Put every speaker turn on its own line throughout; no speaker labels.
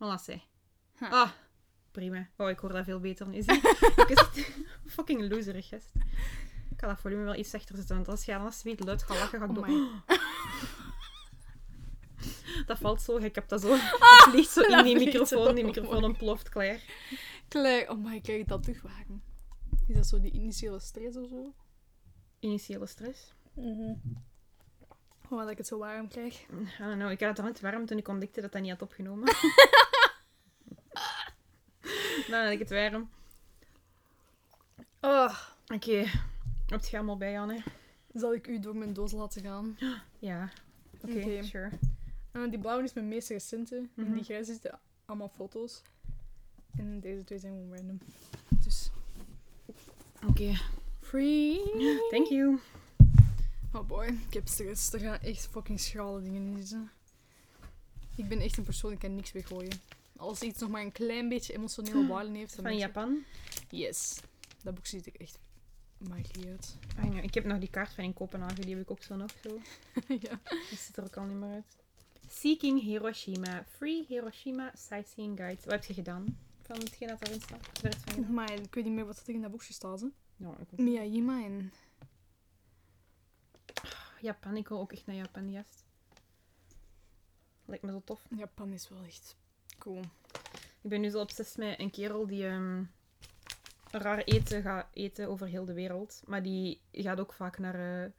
Voilà,
Huh.
Ah, prima. Oh, ik hoor dat veel beter nu. zie. ik is echt fucking loserig, gast. Ik kan dat volume wel iets zachter zetten, want als je anders niet luid gaat lachen, ga ik
Oh
door.
my.
Dat valt zo, ik heb dat zo...
Ah,
Het ligt zo in
Dat
die
vliegt zo
microfoon, die microfoon
omhoog.
ontploft, klaar.
Klaar. Oh my, kijk dat terugwagen. Is dat zo die initiële stress of zo?
Initiële stress. Mhm.
Gewoon Oh, dat ik het zo warm krijg.
I don't know, ik had het net warm toen ik ontdekte dat dat niet had opgenomen. Dan had ik het warm.
Oh,
Oké, op het allemaal bij, Anne.
zal ik u door mijn doos laten gaan?
Ja, oké,
Oké.
sure.
Eh, die blauwe is mijn meest recente. En
Mhm.
die grijze is de- allemaal foto's. En deze twee zijn gewoon random. Dus...
Oké,
Free!
thank you.
Oh boy, ik heb stress. Er gaan echt fucking schrale dingen in zitten. Ik ben echt een persoon, ik kan niks weggooien. Als iets nog maar een klein beetje emotionele waarde heeft...
Hm. Van
dan ben ik-
Japan.
Yes. Dat boek ziet er echt magie uit.
Ah, ja, ik heb nog die kaart van in Kopenhagen, die heb ik ook zo nog. Zo.
ja.
Die ziet er ook al niet meer uit. Seeking Hiroshima. Free Hiroshima Sightseeing Guide. Wat heb je gedaan? Van hetgeen dat daarin staat? Wat heb je er van gedaan?
Maar ik weet niet meer wat er in dat boekje staat. Hè?
Ja, ik ook.
Miyajima en...
Japan, ik wil ook echt naar Japan, juist. Lijkt me zo tof.
Japan is wel echt cool.
Oh, Ik ben nu zo obsessief met een kerel die ehm, raar eten gaat eten over heel de wereld. Maar die gaat ook vaak naar. eh,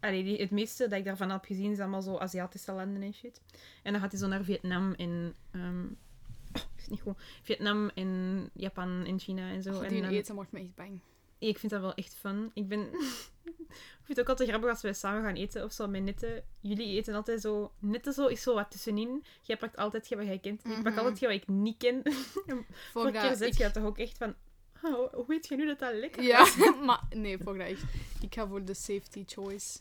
Allee, die, het meeste dat ik daarvan heb gezien is allemaal zo Aziatische landen en shit. En dan gaat hij zo naar Vietnam en. ehm, oh, is niet goed. Vietnam en Japan en China en zo.
Oh,
en eh,
die
dan-
eten maakt me echt bang.
ik vind dat wel echt fun. Ik ben... Ik vind het ook altijd grappig als we samen gaan eten of zo met netten. Jullie eten altijd zo... Netten zo is zo wat tussenin. Jij pakt altijd hetgeen wat jij kent. Ik pak
Mhm.
altijd hetgeen wat ik niet ken. Vorige
dat
keer zei
ik-
jij toch ook echt van... "Oh, hoe weet je nu dat dat lekker is?
Ja, maar nee, voor dat echt. Ik ga voor de safety choice.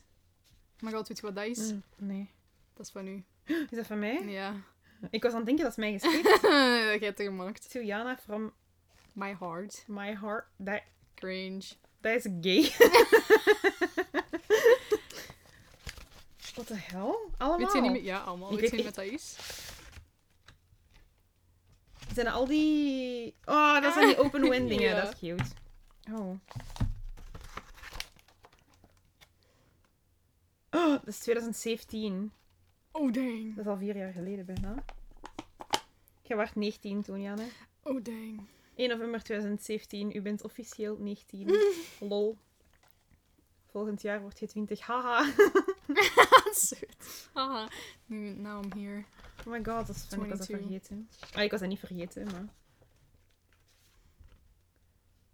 Maar god, weet je wat dat is?
Mm, Nee.
Dat is van u.
Is dat van mij?
Ja.
Ik was aan het denken, dat is mij geschreven.
dat heb je gemaakt.
Suliana from
My heart.
My Heart. Dat,
Cringe.
dat is gay. Wat de hel? Allemaal.
Weet je niet meer? Ja, allemaal.
Ik
weet je
weet
niet wat dat is?
Zijn al die... Oh, dat zijn die open windingen.
Ah. Ja.
Dat is cute. Oh. Oh, dat is 2017.
Oh dang.
Dat is al vier jaar geleden bijna. Jij was 19 toen, Janne.
Oh dang.
1 november 2017. U bent officieel 19. Lol. Volgend jaar wordt je 20. Haha.
Zut. Haha. Nu, now I'm here.
Oh my god, dat is fijn. Ik was dat
22.
vergeten. Ah, ik was dat niet vergeten, maar...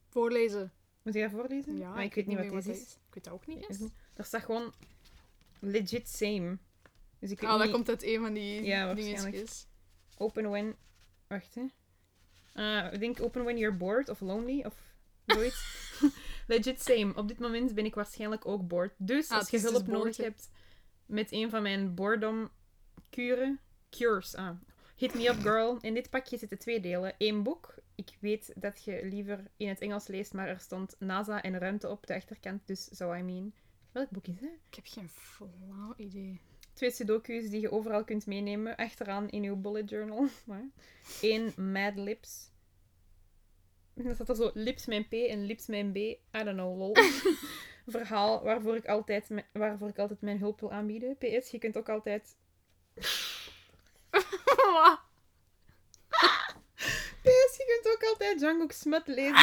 Voorlezen.
Moet ik dat voorlezen?
Ja,
Ah, ik, weet niet wat
meer
deze is.
Ik weet dat ook niet
Ik
eens.
weet Daar staat gewoon legit same. Dus ik weet
Oh, dat
niet...
komt uit een van die
Ja,
dingetjes.
Open when... Wacht, hè. Eh, ik denk open when you're bored of lonely of zoiets. legit same. Op dit moment ben ik waarschijnlijk ook bored. Dus
Ah,
als je
het is
hulp
dus bored,
nodig
hè.
hebt met een van mijn boredom kuren... Cures, ah. Hit me up, girl. In dit pakje zitten twee delen. Eén boek. Ik weet dat je liever in het Engels leest, maar er stond NASA en ruimte op de achterkant, dus so I mean. Welk boek is dat?
Ik heb geen flauw idee.
Twee sudoku's die je overal kunt meenemen, achteraan in uw bullet journal. Maar Eén Mad Lips. En Dan staat er zo lips mijn P en lips mijn B. I don't know, lol. Verhaal waarvoor ik, altijd mijn, waarvoor ik altijd mijn hulp wil aanbieden. PS, je kunt ook altijd...
Wat?
PS, je kunt ook altijd Jungkook Smut lezen.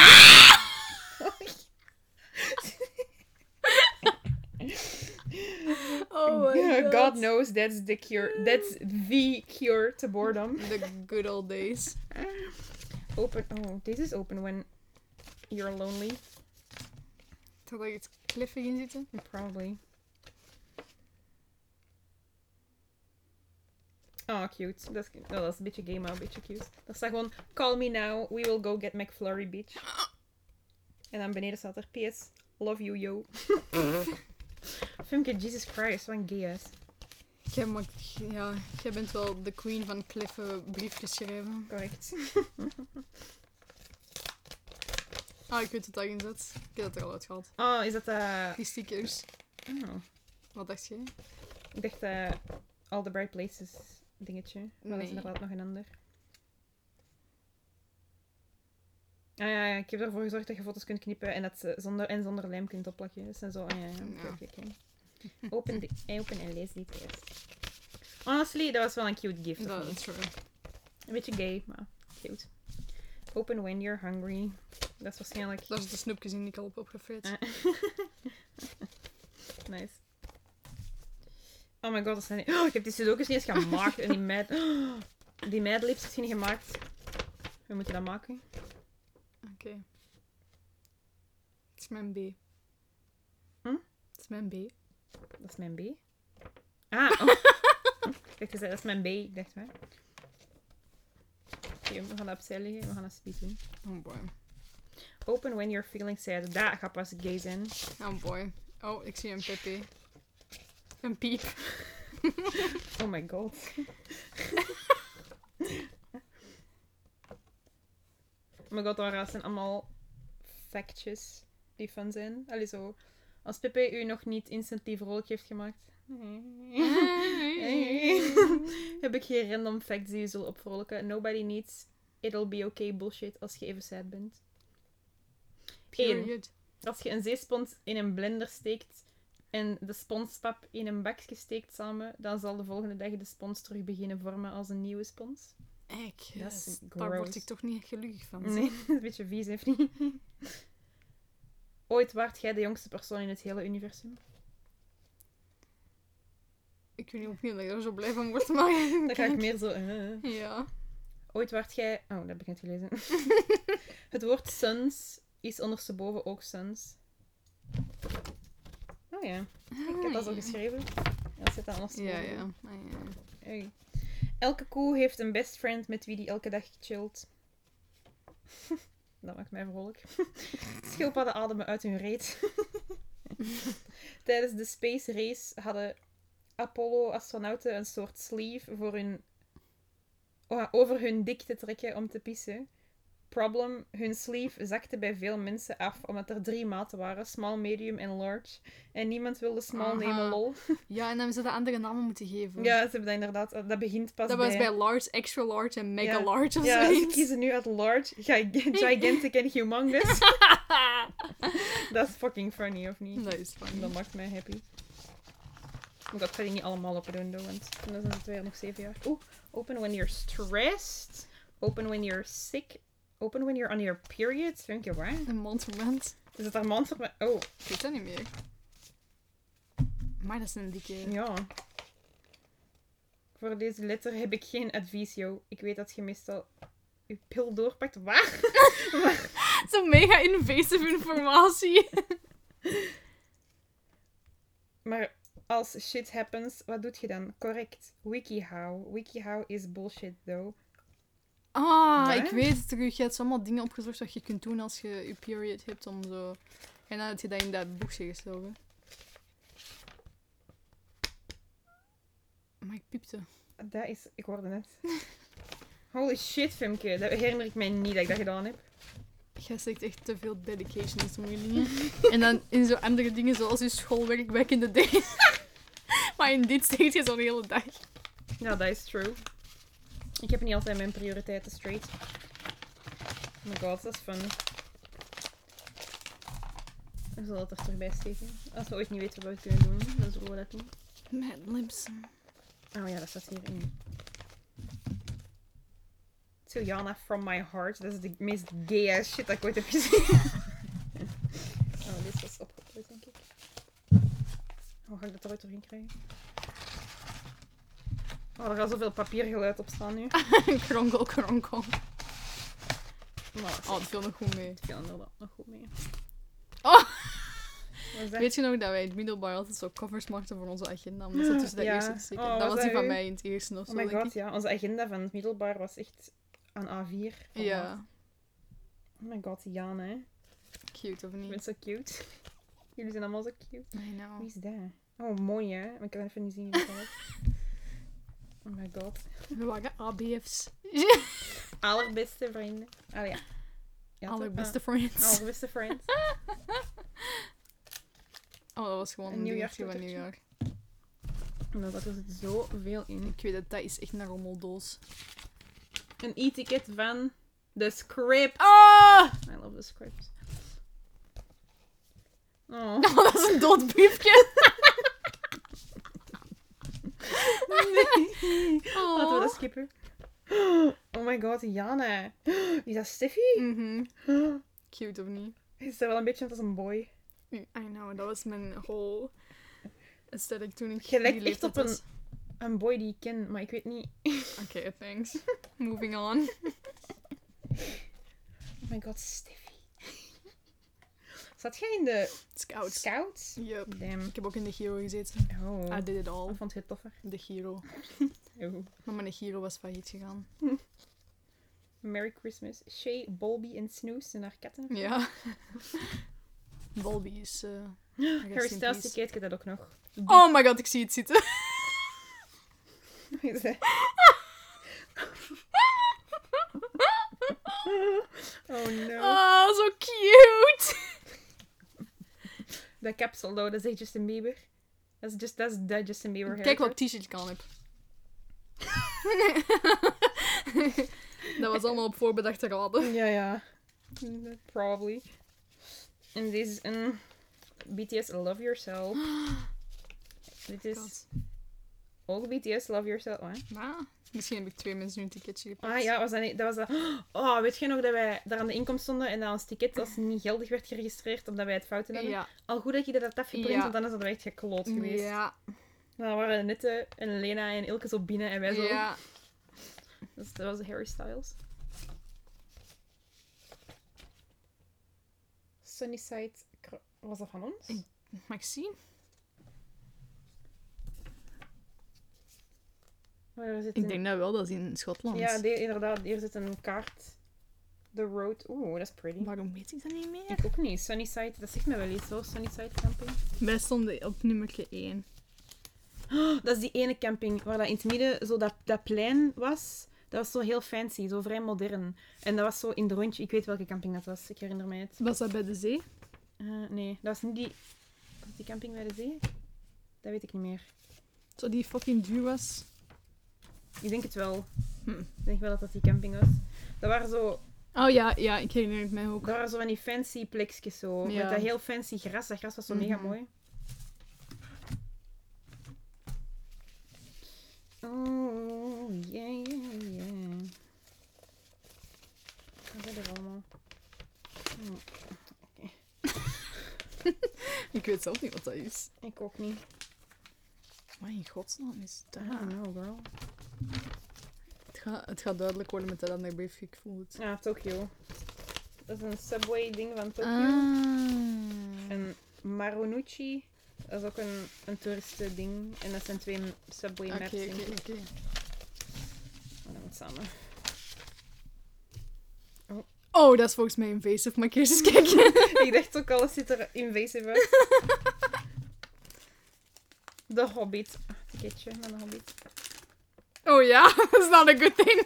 Oh
God. knows that's the cure. That's the cure to boredom.
The good old days.
Open... Oh, this is open when you're lonely.
Terwijl er iets cliffig in zitten.
Probably. Oh, cute. Dat is, cu- oh, dat is een beetje gay, maar een beetje cute. Daar staat gewoon, call me now, we will go get McFlurry bitch. En dan beneden staat er, PS, love you, yo. Filmpje, Jesus Christ, wat een gay ass.
Jij, maakt, ja, jij bent wel de queen van cliffen briefjes schrijven.
Correct.
Ah, ik weet wat daarin zat. Ik heb dat er al uit gehad.
Oh, is dat... eh
Die stickers.
oh,
Wat dacht jij?
ik dacht, eh, all the bright places dingetje. Maar dat
Nee.
is inderdaad nog een ander. Ah ja, ja, ik heb ervoor gezorgd dat je foto's kunt knippen en dat ze zonder, en zonder lijm kunt opplakken. Dus en zo, ah ja, ja, oké,
Ja.
oké, oké. Open, die- eh, open en lees die eerst. Honestly, dat was wel een cute gift. of
Dat
niet?
is waar.
Een beetje gay, maar cute. Open when you're hungry. Dat is waarschijnlijk...
Dat is de snoepjes die ik al heb opgefrit.
Eh. nice. Oh my god, dat zijn... Oh, ik heb die sudokus niet eens gemaakt. En die meid... Oh, die meid heeft het niet gemaakt. We moeten dat maken.
Oké. Het is mijn B.
Hm?
Het is mijn B.
Dat is mijn B. Ah, oh. Kijk, dat is mijn B. Ik dacht, hè. Oké, we gaan dat opzij leggen. We gaan dat speed doen.
Oh boy.
Open when you're feeling sad. Daar gaat pas gay zijn.
Oh boy. Oh, ik zie een PP. Een piep.
Oh my god. oh my god, dat zijn allemaal factjes die fun zijn. Allee, zo. Als Pepe u nog niet instantly vrolijk heeft gemaakt, heb ik hier random facts die u zullen opvrolijken. Nobody needs it'll be okay bullshit als je even sad bent.
Period.
Als je een zeespons in een blender steekt en de sponspap in een bakje steekt samen, dan zal de volgende dag de spons terug beginnen vormen als een nieuwe spons.
Ik.
Dat is
Daar word
gross.
ik toch niet gelukkig van. zeg.
Nee, dat is een beetje vies, heeft niet. Ooit waart jij de jongste persoon in het hele universum.
Ik weet niet opnieuw dat ik daar zo blij van word, maar...
Dan ga ik meer zo... eh.
Ja.
Ooit waart jij... Oh, dat begint te lezen. het woord suns is ondersteboven ook suns. Oh ja, ik heb dat al geschreven. En dat zit dan ondersteboven.
Ja, ja. Ah, ja.
Oei. Elke koe heeft een best friend met wie die elke dag chillt. Dat maakt mij vrolijk. Schildpadden ademen uit hun reet. Tijdens de Space Race hadden Apollo-astronauten een soort sleeve voor hun... o- over hun dik te trekken om te pissen. Problem, hun sleeve zakte bij veel mensen af, omdat er drie maten waren. Small, medium en large. En niemand wilde small nemen,
Aha.
lol.
Ja, en dan hebben ze de andere namen moeten geven.
Ja, ze hebben dat inderdaad... Dat begint pas
dat was bij large, extra large en mega
Ja.
large of
ja, ze
zoiets.
kiezen nu uit large, gi- gigantic en humongous. Dat is fucking funny, of niet?
dat is funny.
Dat maakt mij happy. Maar dat ga ik niet allemaal op doen, though, want dan zijn het weer nog zeven jaar. Oeh, open when you're stressed. Open when you're sick. Open when you're on your period. Vind je waar?
Een mondmoment.
Is dat daar man voor mij? Oh,
Ik weet dat niet meer. Maar dat is een dikke...
ja. Voor deze letter heb ik geen advies, yo. Ik weet dat je meestal je pil doorpakt. Waar?
Zo mega invasive informatie.
Maar als shit happens, wat doet je dan? Correct. WikiHow. WikiHow is bullshit, though.
Ah,
Waar?
ik weet het terug. Je hebt zo allemaal dingen opgezocht dat je kunt doen als je je period hebt om zo... En dan had je dat in dat boekje gestoken. Maar ik piepte.
Dat is... Ik hoorde net. Holy shit, Femke. Dat herinner ik mij niet dat ik dat gedaan heb.
Jij steekt echt te veel dedication in sommige dingen. en dan in zo andere dingen zoals je schoolwerk back in the day. maar in dit steekt je zo'n hele dag.
Nou, dat is true. Ik heb niet altijd mijn prioriteiten straight. Oh my god, dat is fun. We zullen dat er terug bij steken. Als we ooit niet weten wat we kunnen doen, dan zullen we dat doen.
Mad lips.
Oh ja, dat staat hierin. To Yana from my heart. Dat is de meest gay ass shit dat ik ooit heb gezien. oh, dit was opgepleit, denk ik. Hoe ga ik dat er ooit doorheen krijgen? Oh, er gaat zoveel papiergeluid op staan nu.
kronkel, kronkel.
Maar dat
Oh, het viel nog goed mee.
viel inderdaad nog goed mee.
Oh.
Wat is dat?
Weet je nog dat wij in het middelbaar altijd zo covers maakten voor onze agenda? Omdat dat tussen de
Ja.
eerste te steken.
Oh,
dat
was
was die
dat
van
u?
mij in het eerste of zo,
Oh my
denk
god,
ik.
ja. Onze agenda van het middelbaar was echt aan A4.
Ja,
Oh my god, Jana, hè.
cute of
Je
niet?
bent zo cute. Jullie zijn allemaal zo cute.
I
Wie
know.
is dat? Oh, mooi hè? Maar ik kan even niet zien wie dat is. Oh my god.
We waren ABF's.
Allerbeste vrienden. Oh ja. ja toch?
Allerbeste
Ah,
friends.
allerbeste friends.
Oh, dat was gewoon
Een
een
nieuwjaars
Oh, nieuwjaar van
cadeautje.
nieuwjaar.
Omdat er zit Nou, zoveel in.
Ik weet het, dat is echt een rommeldoos.
Een e-ticket van de script.
Ah!
I love the script. Oh.
Oh, dat is een dood briefje.
Laten we dat skippen. Oh my god, Jana. Is dat Steffi?
Mhm. Cute of niet?
Is dat wel een beetje net als een boy?
I know, dat was mijn whole aesthetic toen ik
Je lijkt
die
echt
leeftijd
op een-
was.
Een boy die ik ken, maar ik weet niet.
Oké, thanks. Moving on.
Oh my god, Steffi. Zat jij in de
Scouts.
scouts?
Yup.
Damn.
Ik heb ook in de Giro gezeten.
Oh.
I did it all.
Of vond je het toffer?
De Giro.
Oh.
Maar mijn Giro was failliet gegaan.
Merry Christmas. Shay, Bolby en Snoes en haar katten.
Ja. Balbi is... eh, rest
Harry
in
Styles,
peace.
die kijkt dat ook nog.
Oh my god, ik zie het zitten.
Is dat- oh no.
Ah, zo cute.
Dat capsule, though, dat is echt Justin Bieber. Dat is just, dat is de Justin Bieber
Kijk wat
haircut.
t-shirt ik aan heb. dat was allemaal op voorbedachte raden.
Ja, ja. Probably. En dit is een BTS Love Yourself. Dit is
God.
ook BTS Love Yourself. hè?
Maar Ah, misschien heb ik twee mensen nu een ticketje gepakt.
Ah ja, was dat, niet, dat was dat. Oh, weet je nog dat wij daar aan de inkomst stonden en dat ons ticket als niet geldig werd geregistreerd omdat wij het fout hadden?
Ja.
Al goed dat je dat hebt afgeprint,
Ja.
want anders hadden wij echt gekloot geweest.
Ja.
Dan waren Nette en Lena en Ilke zo binnen en wij zo.
ja.
Dus dat was Harry Styles. Sunnyside. Cro- Was dat van ons?
Ik- Mag ik zien?
Maar er zit een-
Ik denk dat wel, dat is in Schotland.
Ja, die- inderdaad. Hier zit een kaart. The road. Oeh, dat is pretty.
Waarom weet ik dat niet meer?
Ik ook niet. Sunnyside, dat zegt me wel iets hoor. Sunnyside camping.
Wij stonden op nummer 1.
Oh, dat is die ene camping waar dat in het midden zo dat, dat plein was. Dat was zo heel fancy, zo vrij modern. En dat was zo in de rondje. Ik weet welke camping dat was. Ik herinner mij het.
Was dat bij de zee?
Eh, nee, dat was niet die... was het die camping bij de zee? Dat weet ik niet meer.
Zo die fucking duur was.
Ik denk het wel.
Hm.
Ik denk wel dat dat die camping was. Dat waren zo,
Oh ja, ja, ik herinner het mij
dat
ook.
waren zo van die fancy plekjes zo.
Ja.
Met dat heel fancy gras. Dat gras was zo mega
Mhm.
mooi. Oh, yeah, yeah, yeah. Wat zijn er allemaal?
Ik weet zelf niet wat dat is.
Ik ook niet.
Maar in godsnaam is dat...
I don't know, girl.
Ah, Het, gaat, het gaat duidelijk worden met dat andere briefje, ik voel het.
Ja, Ah, Tokyo. Dat is een subway-ding van Tokyo.
Ah.
En Marunouchi, dat is ook een, een toeristending. En dat zijn twee subway
Oké,
maps. denk
oké,
ik.
oké.
Maar dat moet samen.
Oh, dat is volgens mij invasive, maar ik eerst eens kijken.
ik dacht ook alles ziet er invasive uit. De Hobbit. Ah, Ticketje naar de Hobbit.
Oh ja, that's not a good thing.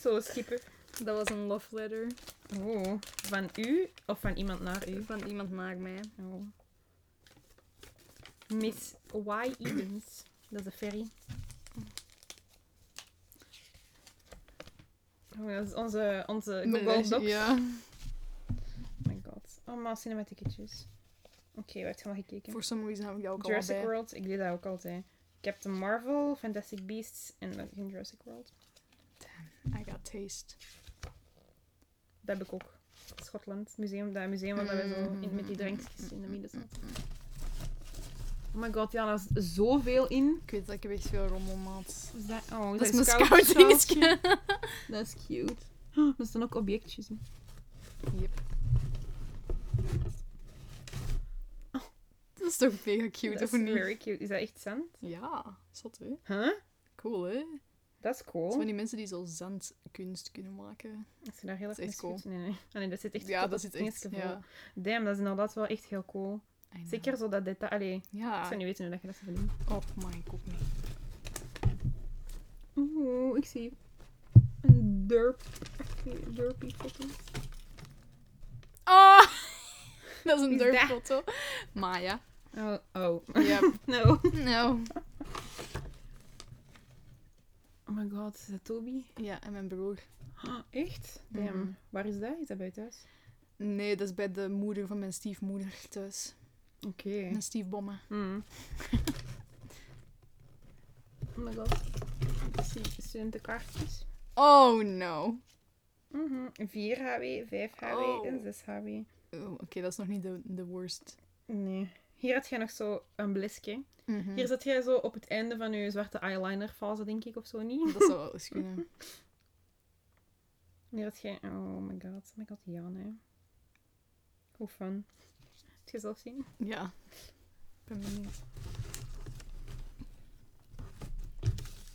Zo skippen.
Dat was een love letter
Oh, van u of van iemand naar u?
van iemand naar mij.
Oh. Miss Y. Edens. Dat is een ferry. Oh, dat is onze, onze Google Docs.
Ja.
Oh my god. Allemaal cinematicetjes. Oké, wat heb je allemaal gekeken?
Voor some reason heb ik dat ook
Jurassic
al bij.
World, ik deed dat ook altijd. Captain Marvel, Fantastic Beasts en dan in Jurassic World.
I got taste.
Dat heb ik ook. Schotland, museum, dat museum waar we zo in,
Mm-hmm.
met die drankjes in de midden zaten. Oh my god, ja, daar is zoveel in.
Ik weet dat ik heb echt veel rommelmaat.
Is dat, oh,
Dat is mijn
scout-
scout
scoutje?
dingetje.
Dat is cute. Oh, er staan ook objectjes in.
Yep. Dat is toch mega cute,
Dat
of
is
niet?
very cute. Is dat echt zand?
Ja, zot hè?
Huh?
Cool hè?
Dat is
Het
cool.
zijn die mensen die zo zandkunst kunnen maken.
Ik zie daar heel erg
Dat is echt
mee schieten. Nee, nee. Ah, nee, dat zit echt
ja,
tot
dat
op
zit
het
echt.
neusje vol.
Ja.
Damn, dat is inderdaad wel echt heel cool.
I know.
Zeker zo dat detail. Allee, ik
Ja.
zou niet weten hoe dat je dat zou doen.
Oh my god, nee.
Oeh, ik zie een derp. Derpy foto.
Ah! dat is een
Wie Oh! is dat?
durffoto. Maya.
Oh, oh.
Ja.
No.
nou.
Oh my god, is dat Toby?
Ja, en mijn broer.
Ah, echt? Damn.
Mhm.
Waar is dat? Is dat bij thuis?
Nee, dat is bij de moeder van mijn stiefmoeder thuis.
Oké.
Mijn stiefbomma.
Mm. oh my god. Ik zie studentenkaartjes.
Oh no.
Mhm. 4 HW, 5 HW en
Oh.
6 HW.
Oh, Oké, dat is nog niet de, de worst.
Nee. Hier had jij nog zo een blisje.
Mhm.
Hier zat jij zo op het einde van je zwarte eyeliner fase, denk ik, of zo niet.
Dat zou wel eens kunnen.
Hier had jij... Oh my god. Oh my god, Jan, hè. Hoe fun. Heb je zelf zien?
Ja. Ik ben benieuwd.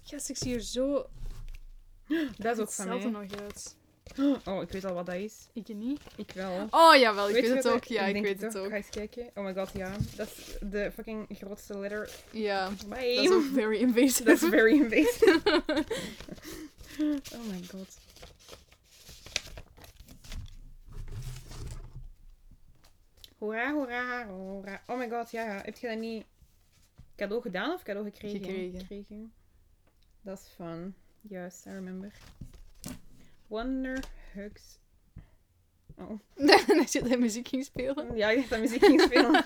Gast, ik zie er zo
Dat is ook van
hetzelfde
mij.
nog uit.
Oh, ik weet al wat dat is.
Ik niet.
Ik wel.
Oh, jawel, ik weet,
Weet je
het
wat
ook. Ja, ik
denk
weet het
toch?
ook.
Ga eens kijken. Oh my god, ja. Dat is de fucking grootste letter.
Ja, dat is
Bye.
ook very invasive.
Dat is very invasive. oh my god. Hoera, hoera, hoera. Oh my god, ja, ja. Heb je dat niet cadeau gedaan of cadeau gekregen?
Gekregen.
Dat is fun. Juist, I remember. Wonder Hugs. Oh.
Als je de muziek ging spelen.
Ja, ik dacht dat muziek ging spelen.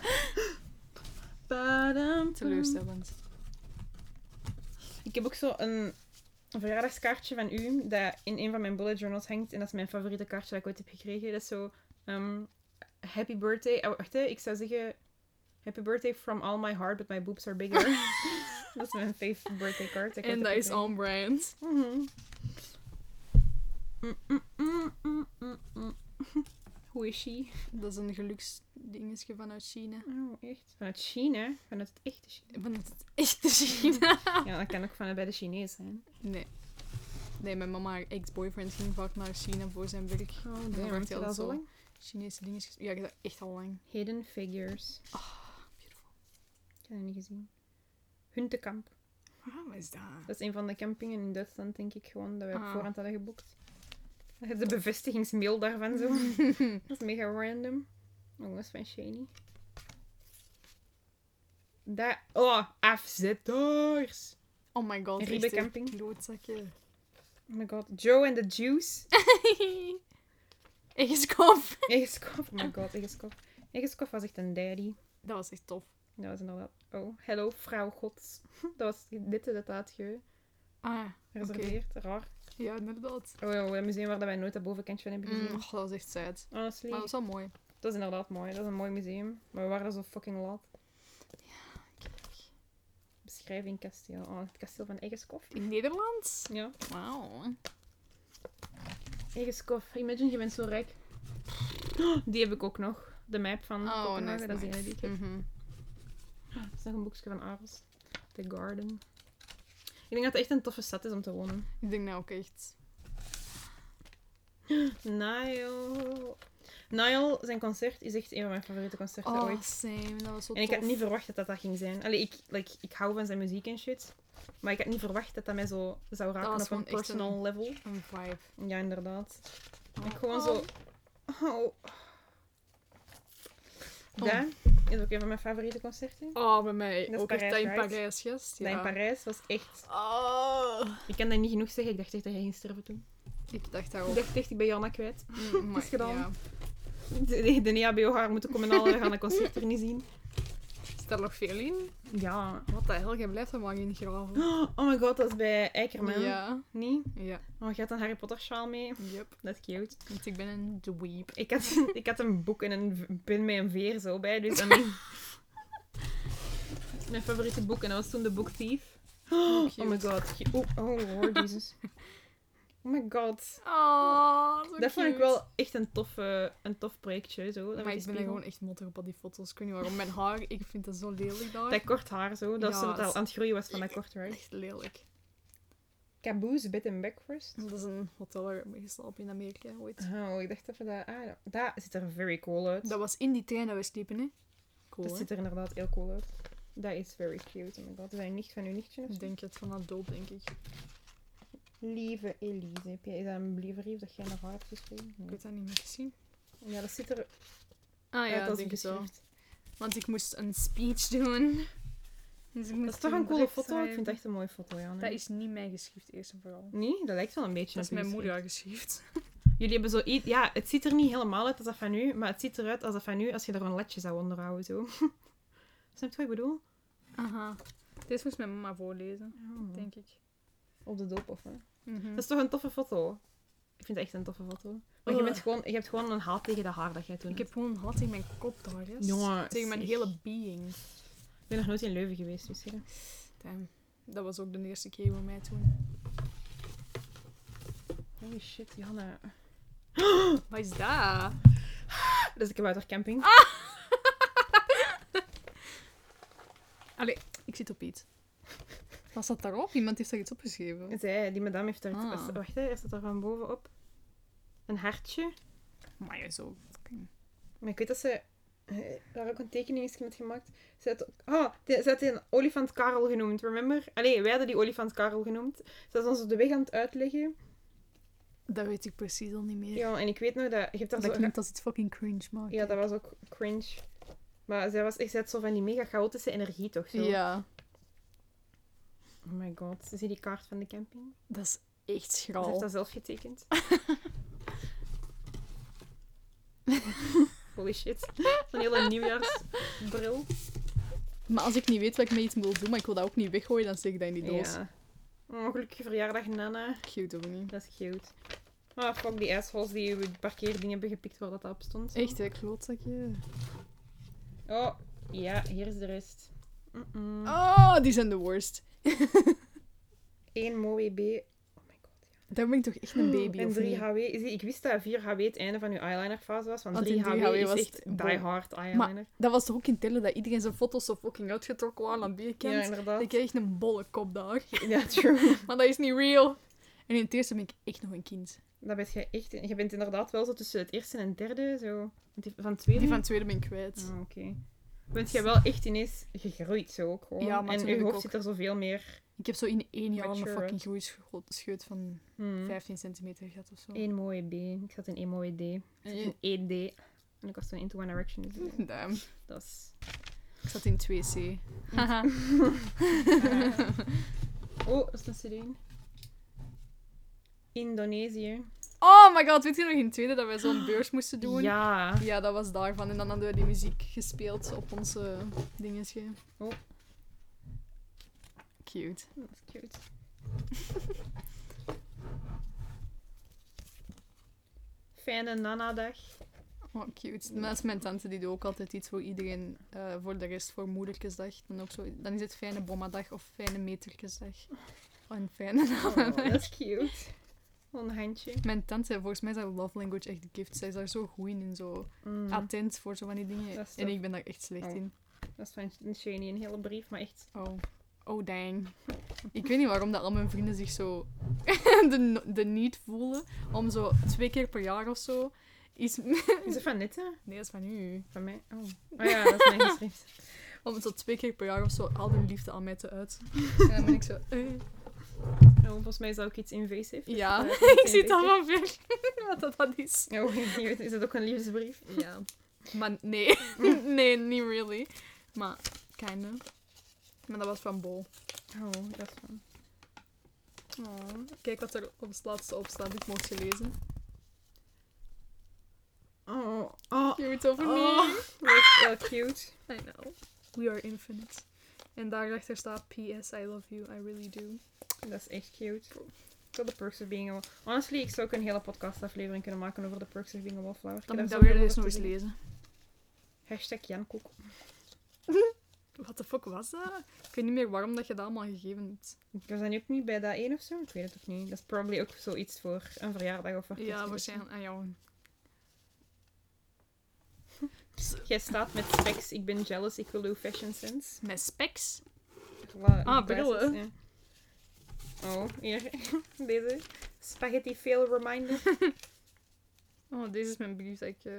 Badam,
Teleurstellend.
Ik heb ook zo een verjaardagskaartje van u dat in een van mijn bullet journals hangt. En dat is mijn favoriete kaartje dat ik ooit heb gekregen. Dat is zo... ehm, happy birthday... Oh, wacht, hè. Ik zou zeggen... Happy birthday from all my heart, but my boobs are bigger. dat is mijn favorite birthday card. ik ooit
En
heb
dat is
gekregen.
on brand.
Mhm. Mm, mm, mm, mm, mm, mm. Hoe is she?
Dat is een geluksdingetje vanuit China.
Oh, echt? Vanuit China? Vanuit het echte China?
Vanuit het echte China.
Ja, dat kan ook vanuit bij de Chinees zijn.
Nee. Nee, mijn mama, haar ex-boyfriend, ging vaak naar China voor zijn werk.
Oh,
damn.
damn.
Werkt
Werkt
hij
dat
al
al zo
zo?
lang?
Chinese dingetjes. Ja, ik heb dat echt al lang.
Hidden Figures.
Ah, Beautiful.
Ik heb dat niet gezien. Huntekamp.
Ah, wat is dat?
Dat is een van de campingen in Duitsland, denk ik gewoon, dat we op
Ah.
voorhand hadden geboekt. De bevestigingsmail daarvan zo. dat is mega random. Oh, dat is van Shani. Daar. Oh, afzetters!
Oh my god,
Riebe
echte
camping.
Klootzakje.
Oh my god. Joe and the Juice.
Eggenskop.
Egenskop. Oh my god, Egenskop. Egenskop was echt een daddy.
Dat was echt tof.
Dat was inderdaad. Oh, hello, vrouw gods. Dat was dit inderdaad ge-
Ah,
gereserveerd. Raar.
ja, inderdaad.
Oh ja, het museum waar dat wij nooit dat bovenkantje van hebben gezien.
Mm, oh, dat was echt sad.
Honestly,
Maar dat was wel mooi.
dat is inderdaad mooi. Dat is een mooi museum. Maar we waren er zo fucking laat. Beschrijving kasteel. Oh, het kasteel van Eggenskov.
In Nederland?
Ja.
Wauw.
Eggenskov. Imagine, je bent zo rijk. Die heb ik ook nog. De map van
Oh,
Kopenhagen.
nice,
dat is
nice.
die die ik heb.
Mhm.
Dat is nog een boekje van Aros. The Garden. Ik denk dat het echt een toffe stad is om te wonen.
Ik denk nou ook echt.
Nile. Nile, zijn concert is echt een van mijn favoriete concerten ooit.
Oh, same. Dat was zo
En ik had
tof.
niet verwacht dat dat, dat ging zijn. Allee, ik, like, ik hou van zijn muziek en shit. Maar ik had niet verwacht dat dat mij zo zou raken
was
op een
gewoon echt
personal
een-
level.
Een vibe.
Ja, inderdaad. Ik
Oh.
gewoon zo... Oh. Dat is ook een van mijn favoriete concerten.
Oh, bij mij
Dat is
ook echt dat in
Parijs, right?
Parijs, gast.
Dat in
Ja.
Parijs was echt...
Oh.
Ik kan dat niet genoeg zeggen. Ik dacht echt dat hij ging sterven toen.
Ik dacht dat
Ik
ook.
dacht echt, ik ben Jana kwijt.
Mm, maar
is gedaan.
Ja.
De, de NEABO haar moeten komen halen. We gaan dat concert er niet zien.
Zit daar nog veel in?
Ja.
Wat de hel, jij blijft er maar in graven.
Oh my god, dat is bij Eikerman.
Ja.
Niet?
Ja.
Oh, je had een Harry Potter sjaal mee.
Yep.
Dat is cute.
Want ik ben een dweep.
Ik had, ik had een boek en een v- pin met een veer zo bij, dus I mean... Mijn favoriete boek, en dat was toen de boek Thief. Oh,
cute.
my god. Ge- Oh, oh lord, Jesus. Oh my god.
Oh, zo
Dat vond ik
cute.
wel echt een, toffe, een tof projectje, zo. Dat, met die
Maar ik ben er
spiegel.
gewoon echt mottig op al die foto's. Ik weet niet waarom. Mijn haar, ik vind dat zo lelijk daar.
dat kort haar, zo. Dat ze
Ja,
dat al
dat-
aan het groeien was van dat kort haar.
Echt lelijk.
Caboose Bed and Breakfast.
Dat is een hotel waar ik mee geslapen heb in Amerika ooit.
Oh, ik dacht even dat... Ah, dat- dat ziet er very cool uit.
Dat was in die trein dat we sliepen, hè? Cool,
Dat
hè?
ziet er inderdaad heel cool uit. Dat is very cute. Oh my god, is dat een nicht van uw nichtje of
Ik
zo?
denk het van dat doop, denk ik.
Lieve Elise, heb jij is dat een brief dat jij nog haar hebt geschreven?
Ik
Nee.
weet dat niet meer gezien.
Ja, dat ziet er
Ah ja,
uit als
denk ik zo.
beschrift.
Want ik moest een speech doen. Dus ik moest
Dat is toch
toen
een coole
brief
foto? Ik vind het
schrijven.
echt een mooie foto, Janne.
Dat is niet mij geschift, eerst en vooral.
Nee, dat lijkt wel een beetje
Dat
op
is
u
mijn
geschreven.
moeder geschift.
Jullie hebben zo iets... Ja, het ziet er niet helemaal uit als dat van u, maar het ziet eruit als dat van u als je er een ledje zou onderhouden, zo. Snap je wat ik bedoel?
Aha. Dit moest mijn mama voorlezen, denk ik.
Op de doop, of wat?
Mhm.
Dat is toch een toffe foto? Ik vind het echt een toffe foto. Maar je,
Ugh.
bent gewoon, je hebt gewoon een haat tegen de haar dat jij toen
Eh. Ik heb gewoon een hat in mijn kop daar, yes.
Jongens,
Tegen mijn
echt.
hele being.
had. Ik ben nog nooit in Leuven geweest, dus hè.
Damn. Dat was ook de eerste keer voor mij toen.
Holy shit, Janne.
Wat is dat?
Dat is de kaboutercamping.
Allee, ik zit op iets. Wat staat daarop? Iemand heeft daar iets opgeschreven.
Zij, die madame heeft daar...
Ah.
is- Wacht, hè, is dat daar van bovenop? Een hartje?
Maar ja, zo. fucking-
Maar ik weet dat ze eh, daar ook een tekening is met gemaakt. Ze had, ook- oh, de- ze had een olifant Karel genoemd, remember? Allee, wij hadden die olifant Karel genoemd. Ze was ons op de weg aan het uitleggen.
Dat weet ik precies al niet meer.
Ja, en ik weet nog dat... Je hebt daar
dat
zo...
klinkt als iets fucking cringe, maar...
Ja, dat was ook cringe. Maar zij was echt zij had zo van die mega chaotische energie, toch? Zo.
Ja,
Oh my god. Zie je die kaart van de camping?
dat is echt
Ze heeft
schraal.
Dus dat zelf getekend. Holy shit. Een hele nieuwjaarsbril.
Maar als ik niet weet wat ik met iets wil doen, maar ik wil dat ook niet weggooien, dan steek ik dat in die doos.
Ja. Oh, gelukkige verjaardag, Nana.
Cute of niet?
Dat is cute. Ah, fuck die assholes die uw parkeerding hebben gepikt waar dat op stond.
Echt, hè, klootzakje.
Oh, ja, hier is de rest. Mm-mm.
Oh, die zijn de worst.
Eén mooie B. Oh my god, ja.
Daar ben ik toch echt een baby,
En
of
3
niet?
HW. Zie, ik wist dat 4 HW het einde van uw eyelinerfase was, want
Want
3
in
HW,
3 HW
is
was
echt
het
die
bom.
hard eyeliner.
Dat was toch ook in tellen dat iedereen zijn foto's zo fucking uitgetrokken waren aan die
ja,
kant?
inderdaad.
ik kreeg echt een bolle kop daar.
Ja, true.
Maar dat is niet real. En in het eerste ben ik echt nog een kind.
Dat bent je echt... Je bent inderdaad wel zo tussen het eerste en het derde, zo. Want die van het tweede...
Die van het tweede ben ik kwijt.
Ah, oké. Bent jij wel echt ineens gegroeid, zo ook gewoon.
Ja, maar
en je
natuurlijk
hoofd
ook.
zit er zoveel meer...
Ik heb zo in één jaar een
Mature.
fucking groeischeut van
Hmm.
15 centimeter gehad of zo.
Eén mooie B. Ik zat in één mooie D. Ik zat in 1D. En ik was toen Into One Direction. Dus eh,
Damn.
dat is...
Ik zat in 2C. Haha.
Oh, dat is een CD. Indonesië.
oh my god, weet je nog in het tweede dat wij zo'n beurs moesten doen?
Ja.
Ja, dat was daarvan. En dan hadden we die muziek gespeeld op onze dingetje.
Oh.
Cute.
Dat is cute. Fijne nana-dag.
Oh, cute. Maar dat is mijn tante, die doet ook altijd iets voor iedereen. eh, voor de rest, voor moedertjesdag. Dan, ook zo, dan is het fijne bommadag of fijne metertjesdag. Oh, en fijne
Oh, dat
namendag.
is cute. Een handje.
Mijn tante, volgens mij is haar love language echt gift. Zij is daar zo goed in en zo
Mm.
attent voor zo van die dingen.
Dat is
En
tof.
ik ben daar echt slecht
Oh.
in.
Dat is van Shani een hele brief, maar echt...
Oh. Oh, dang. Ik weet niet waarom dat al mijn vrienden zich zo de, no- de niet voelen om zo twee keer per jaar of zo iets... Nee,
Is het van Nette?
dat is van u.
Van mij? Oh, oh ja, dat is mijn geschrift.
Om zo twee keer per jaar of zo al hun liefde aan mij te uiten. En dan ben ik zo... eh.
Oh, volgens mij is dat ook iets invasief. Dus
Ja,
dat is
ik
invasief.
zie het allemaal ver. Wat dat, dat is.
Oh, is dat ook een liefdesbrief?
Ja. Maar nee. nee, niet really. Maar, kinda. Maar dat was van Bol.
Oh, dat is van.
Kijk wat er op het laatste op staat. Dit mocht je lezen.
Oh, oh,
Cute of niet?
oh. Dat is wel cute.
I know. We are infinite. En daarachter staat PS, I love you, I really do.
Dat is echt cute. Zo de perks of being a wallflower. Honestly, ik zou ook een hele podcastaflevering kunnen maken over de perks of being a wallflower. Ik
Dan
heb
moet ik
daar
dat weer
zoveel
eens nog
over
eens
te zeggen.
lezen.
Hashtag Jan Koek.
What the fuck was dat? Ik weet niet meer waarom dat je dat allemaal gegeven hebt.
We zijn ook niet bij dat één of zo. Ik weet het ook niet. Dat is probably ook zoiets voor een verjaardag of voor kerst.
Ja, waarschijnlijk aan jou.
Jij staat met specs. Ik ben jealous. Ik wil uw fashion sense.
Met specs?
Voilà,
Ah,
die
brillen.
glasses, ja. Oh, hier. Deze. Spaghetti fail reminder.
Oh, deze is mijn brief dat ik eh,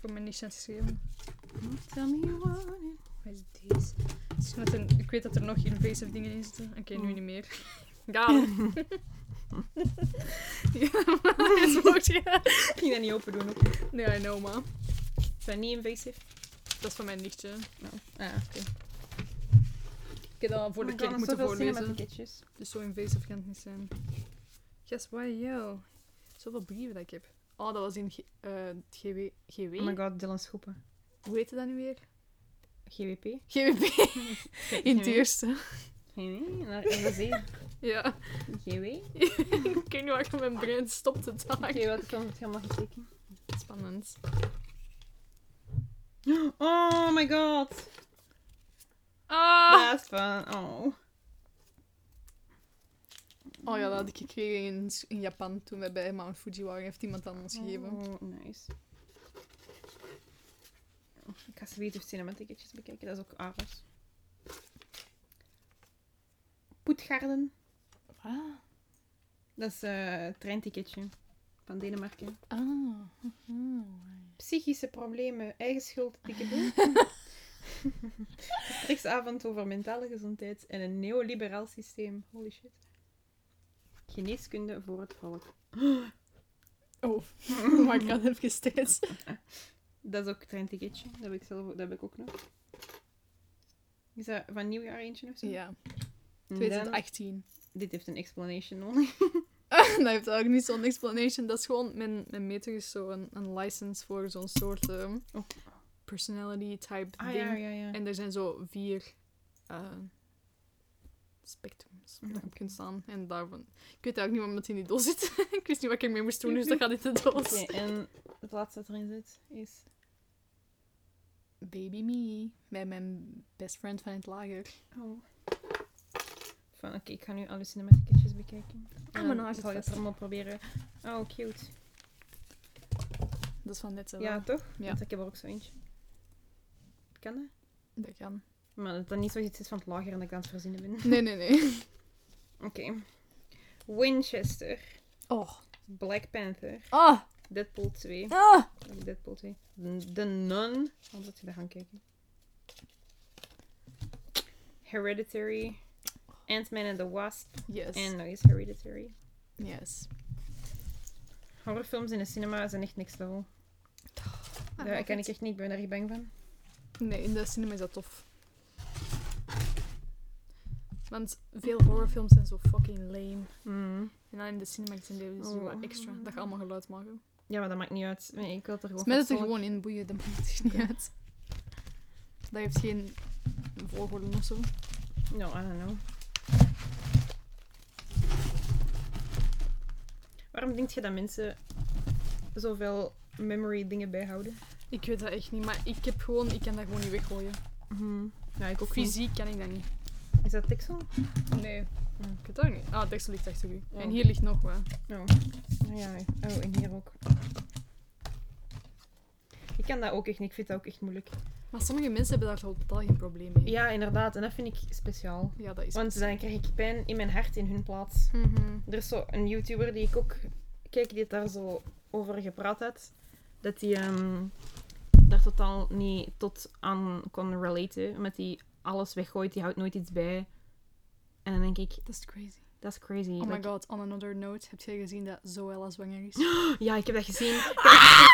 voor mijn niche had geschreven.
Tell me you want it.
Wat is deze? Het is met een- ik weet dat er nog invasive dingen in zitten. Oké, nu
Oh.
niet meer. Gaal. ja, maar dat is mooi.
Ik ging dat niet open doen ook.
Nee, I know, ma.
Is dat niet invasief?
Dat is van mijn nichtje.
Oh. Ah, oké.
Ik heb
Oh
dat voor de kerk moeten voorlezen.
ticketjes.
Dus zo invasief kan het niet zijn. Guess why, yo. Zoveel brieven dat ik heb. Oh, dat was in G- eh, het GW. GW?
Oh my god, Dylan Schoepen.
Hoe heette dat nu weer?
GWP?
GWP. in
GW?
het eerste.
Nee, nee, naar RBC.
Ja.
GW?
ik weet niet waarom mijn brein stopt te
Oké,
dagen.
wat film het helemaal gekeken?
Spannend.
Oh my god.
Ah!
Last van. Oh.
Oh ja, dat had ik gekregen in, in Japan toen we bij Mount Fuji waren. Heeft iemand aan ons gegeven.
Oh, nice. Oh, Ik ga ze weer cinema ticketjes bekijken, dat is ook Aros. Poetgarden. Ah,
Wat?
Dat is eh treinticketje van Denemarken. oh,
Ah.
Psychische problemen, eigen schuld, tikkeboe. Streksavond over mentale gezondheid en een neoliberaal systeem. Holy shit. Geneeskunde voor het volk.
Oh, maar ik had even steeds.
Dat is ook een treinticketje. Dat heb ik, zelf, dat heb ik ook nog. Is dat van nieuwjaar eentje of zo?
Ja,
En dan-
2018.
dit heeft een explanation nodig.
dat heeft ook niet zo'n explanation. Dat is gewoon, mijn, mijn meter is zo een, een license voor zo'n soort ehm,
Oh. Ah,
personality type ding.
ja, ja.
En er zijn zo vier eh, spectrums waar je
Ja.
op kunt staan. En daarvan... Ik weet eigenlijk niet waarom dat in die doos zit. ik wist niet wat ik ermee moest doen, dus dat gaat in de doos.
Oké, en het laatste dat erin zit is...
Baby me, met mijn best friend van het lager.
Oh. Van, oké, ik ga nu alle cinematicetjes bekijken.
maar
En
nou is het
zal ik het
vast.
allemaal proberen. Oh, cute.
Dat is van net zo.
Ja, toch?
Ja.
Want ik heb er ook zo eentje. Kan dat?
Dat kan.
Maar dat dat niet zoiets is van het lager en dat ik aan het verzinnen ben.
Nee, nee, nee.
Oké. Winchester.
Oh.
Black Panther.
Ah!
Deadpool 2.
Ah!
Ook Deadpool 2. The Nun. Waarom zat je daar gaan kijken? Hereditary. Ant-Man and the Wasp.
Yes.
En nog eens Hereditary.
Yes.
Horrorfilms in de cinema zijn echt niks level.
Ah,
Daar kan ik echt niet, ben erg bang van.
Nee, in de cinema is dat tof. Want veel horrorfilms zijn zo fucking lame.
Mm.
En dan in de cinema zijn die dus
Oh.
wat extra. Dat gaat allemaal geluid maken.
Ja, maar dat maakt niet uit. Nee, ik wil er
Het
gewoon
is met het er
fatsoenlijk-
gewoon in boeien, dat maakt echt niet uit. Dat heeft geen volgorde of zo.
No, I don't know. Waarom denk je dat mensen zoveel memory dingen bijhouden?
Ik weet dat echt niet, maar ik heb gewoon, ik kan dat gewoon niet weggooien. Mhm.
Ja, ik ook niet.
Fysiek kan ik dat niet.
Is dat Texel?
Nee.
Ja.
Ik weet dat ook niet. Ah, Texel ligt achter u.
Oh.
En hier ligt nog wat.
Oh. Oh, ja. oh, en hier ook. Ik kan dat ook echt niet. Ik vind dat ook echt moeilijk.
Maar sommige mensen hebben daar zo totaal geen probleem mee.
Ja, inderdaad. En dat vind ik speciaal.
Ja, dat is
Want dan krijg ik pijn in mijn hart in hun plaats.
Mhm.
Er is zo een YouTuber die ik ook kijk, die het daar zo over gepraat had. Dat hij ehm, daar totaal niet tot aan kon relaten. Met die alles weggooit, die houdt nooit iets bij. En dan denk ik,
Dat is crazy.
dat is crazy.
Oh my
Like-
god, on another note, heb jij gezien dat Zoella zwanger is?
Ja, ik heb dat gezien. Ik heb dat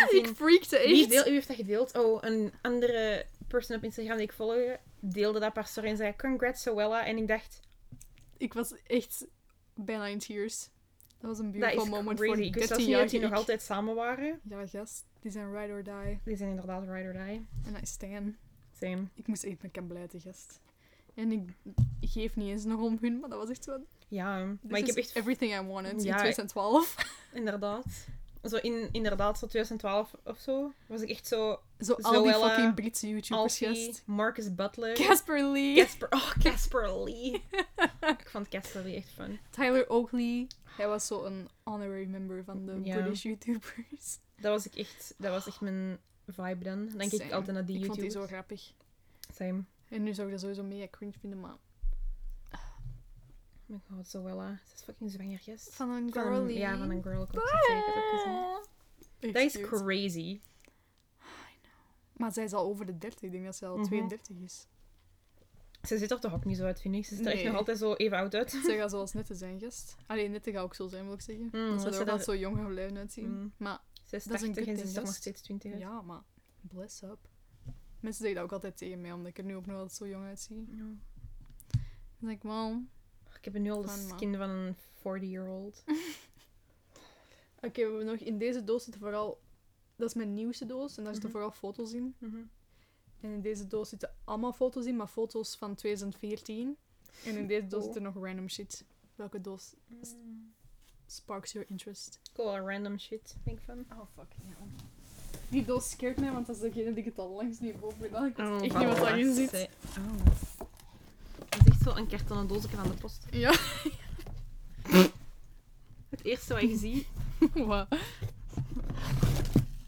gezien.
ik freakte
Wie,
echt.
deel, wie heeft dat gedeeld? Oh, een andere person op Instagram die ik volg, deelde dat per story en zei congrats Zoella. En ik dacht,
Ik was echt bijna in tears. Dat was een
dat
beautiful
is
moment
crazy.
voor
Ik wist
die
zelfs
13
niet
jaar
dat die nog altijd samen waren.
Ja, gast. Die zijn ride or die.
Die zijn inderdaad ride or die.
En hij is Stan.
Same.
Ik moest echt mijn kamp blijten, gast. En ik ik geef niet eens nog om hun, maar dat was echt zo... This
Ja, maar ik
Dus is
heb echt
everything I wanted
Ja,
in 2012.
Inderdaad. Zo in, inderdaad, zo 2012 of zo, was ik echt zo...
Zo al die
Zoella,
fucking Britse YouTubers,
eh, Alfie,
gast.
Marcus Butler,
Casper Lee,
Casper... Oh, Casper Lee. ik vond Casper Lee echt fun.
Tyler Oakley. Hij was zo een honorary member van de
Ja.
British YouTubers.
Dat was, ik echt, dat was echt mijn vibe dan. Dan kijk ik
Same.
altijd naar die
Ik vond
YouTube.
die zo grappig.
Same.
En nu zou ik dat sowieso mega cringe vinden, maar...
Oh my god, Zoella. Ze is fucking zwanger, yes.
Van een
Van
girlie.
Ja, van een girl. klopt,
Ah.
zeker, Ik heb het ook gezien.
Echt
Dat is
cute.
crazy.
Maar zij is al over de 30. Ik denk dat zij al
Mhm.
32 is.
Ze ziet er toch ook niet zo uit, vind ik. Ze ziet er echt
Nee.
nog altijd zo even oud uit.
Zij gaat zoals Nette zijn, gast. Alleen Nette gaat ook zo zijn, wil ik zeggen. dat
Mm, dat
ze
ze
er ook
daar-
altijd zo jong gaan blijven uitzien.
Mm.
Maar
Ze is
Dat is een
80 en
good
ze
thing,
ziet er nog
gast.
steeds 20 uit.
ja, maar... Bless up. Mensen zeggen dat ook altijd tegen mij, omdat ik er nu ook nog altijd zo jong uitzie.
Ja.
Dan denk ik, man.
Ik heb nu al de
Van, man.
skin van een 40-year-old.
Oké, we hebben nog in deze doos zitten vooral... Dat is mijn nieuwste doos en daar zitten
Mhm.
vooral foto's in.
Mhm.
En in deze doos zitten allemaal foto's in, maar foto's van 2014. En in deze doos
Cool.
zit er nog random shit. Welke doos sparks your interest?
Ik wil wel random shit, denk ik van.
Oh, fuck, ja. Die doos scared mij, want dat is degene die ik het al langs niet heb opgedaan. Ik weet echt niet wat daarin zit.
Oh. Het is echt zo een kartonnen doosje van de post.
Ja,
Het eerste wat je ziet,
wat?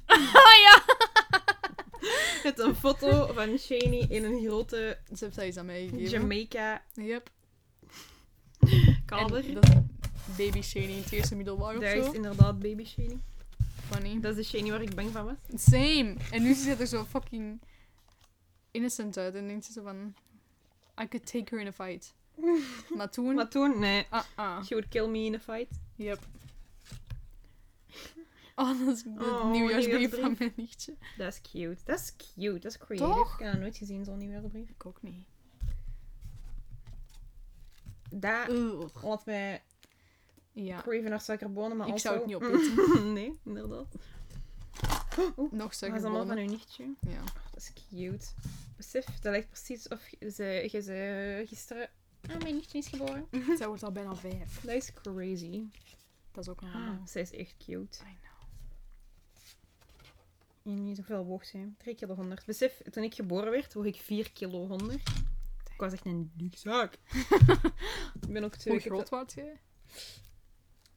ah, ja!
is een foto van Shani in een grote
Ze heeft dat iets aan mij gegeven.
Jamaica
Yep. En
kader.
dat is baby Shane in het eerste middelbaar of
Daar is
zo.
inderdaad baby Shani.
Funny.
Dat is de Shani waar ik bang van was.
Same. En nu ziet het er zo fucking innocent uit. En denkt ze zo van... I could take her in a fight. Maar toen...
Maar toen, nee.
Ah, ah.
She would kill me in a fight.
Yep. Oh, dat is de
Oh,
nieuwjaarsbrief
nieuwjaarsbrief.
van mijn nichtje.
Dat is cute. Dat is cute. Dat is creative.
Toch?
Ik heb dat nooit gezien, zo'n nieuwjaarsbrief.
Ik ook niet.
Dat laat mij
Ja.
craven naar suikerbonen, maar
Ik
also...
zou het niet
nee, inderdaad. Maar dat is
Nog
allemaal van
suikerbonen.
uw nichtje.
Ja.
Oh, dat is cute. Besef, dat lijkt precies of je ze, je ze gisteren... Ah, mijn nichtje is geboren.
Zij wordt al bijna vijf.
Dat is crazy.
Dat is ook een
Ah, zij is echt cute.
I know.
Je moet niet zoveel woog zijn. 3 kilo 100. Besef, toen ik geboren werd, woog ik 4 kilo 100. Ik was echt een dikzak. ik ben ook twee
Hoe
keer
groot was jij?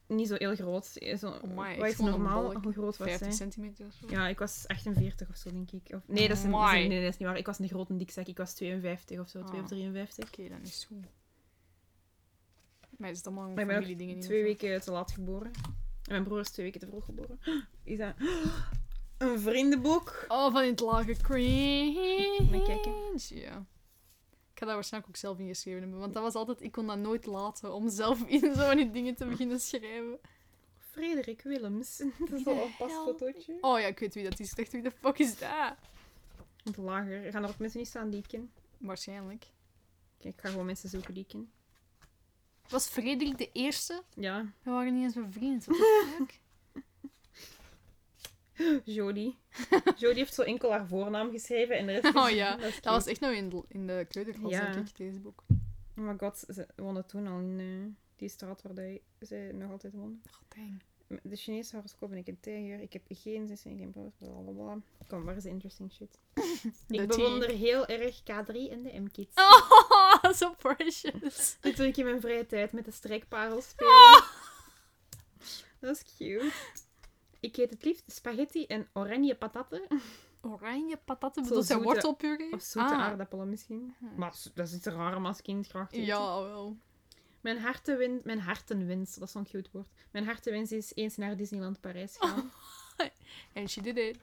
Niet zo heel groot. Zo,
Oh my, echt
wat is
gewoon een
normaal?
balk.
Hoe groot was
50
zij?
centimeter of zo?
Ja, ik was 48 of zo, denk ik. Of, nee, dat is, een,
Amai.
nee, nee, dat is niet waar. Ik was een grote dikzak. Ik was 52 of zo, 2
Ah.
of 53.
Oké, dan is het goed. Maar is het allemaal
Maar ik ben ook
familiedingen niet?
twee weken te laat geboren. En mijn broer is twee weken te vroeg geboren. Is dat een vriendenboek?
Oh, van in het lage cringe.
Maar kijken.
Ja. Ik ga daar waarschijnlijk ook zelf in geschreven hebben. Want dat was altijd... Ik kon dat nooit laten om zelf in zo'n die dingen te beginnen schrijven.
Frederik Willems. Dat is
de
al een
hel?
pasfotootje.
Oh ja, ik weet wie dat is. Ik dacht, wie de fuck is dat?
Want lager. Er gaan er ook mensen niet staan die ik ken.
Waarschijnlijk.
Kijk, ik ga gewoon mensen zoeken die ik ken.
Was Frederik de eerste?
Ja,
We waren niet eens mijn vriend. What the fuck?
Jodie. Jodie heeft zo enkel haar voornaam geschreven en de rest is...
Oh ja,
dat, is
dat was
cute.
echt nou in de, in de kleuterklas,
Ja.
denk ik, deze boek.
Oh my god, ze woonde toen al in eh, die straat waar die, ze nog altijd woonde.
Oh, dang.
De Chinese horoscoop ben ik een tijger. Ik heb geen zus en geen broers. Blablabla. Kom, waar is de interesting shit?
De
ik
T.
bewonder heel erg K3 en de M-kids.
Oh, so precious.
Dit doe ik in mijn vrije tijd met de strekparel spelen.
Ah.
Dat is cute. Ik eet het liefst spaghetti en oranje patatten.
Oranje patatten,
Zo
bedoelt zij
zoete-
wortelpuree?
Of zoete
Ah,
aardappelen misschien. Maar zo- dat is iets raar om als kind graag te eten.
Ja, wel.
Mijn, hartenwin- mijn hartenwens, dat is zo'n cute woord. Mijn hartenwens is eens naar Disneyland Parijs
Ah.
gaan.
And she did it.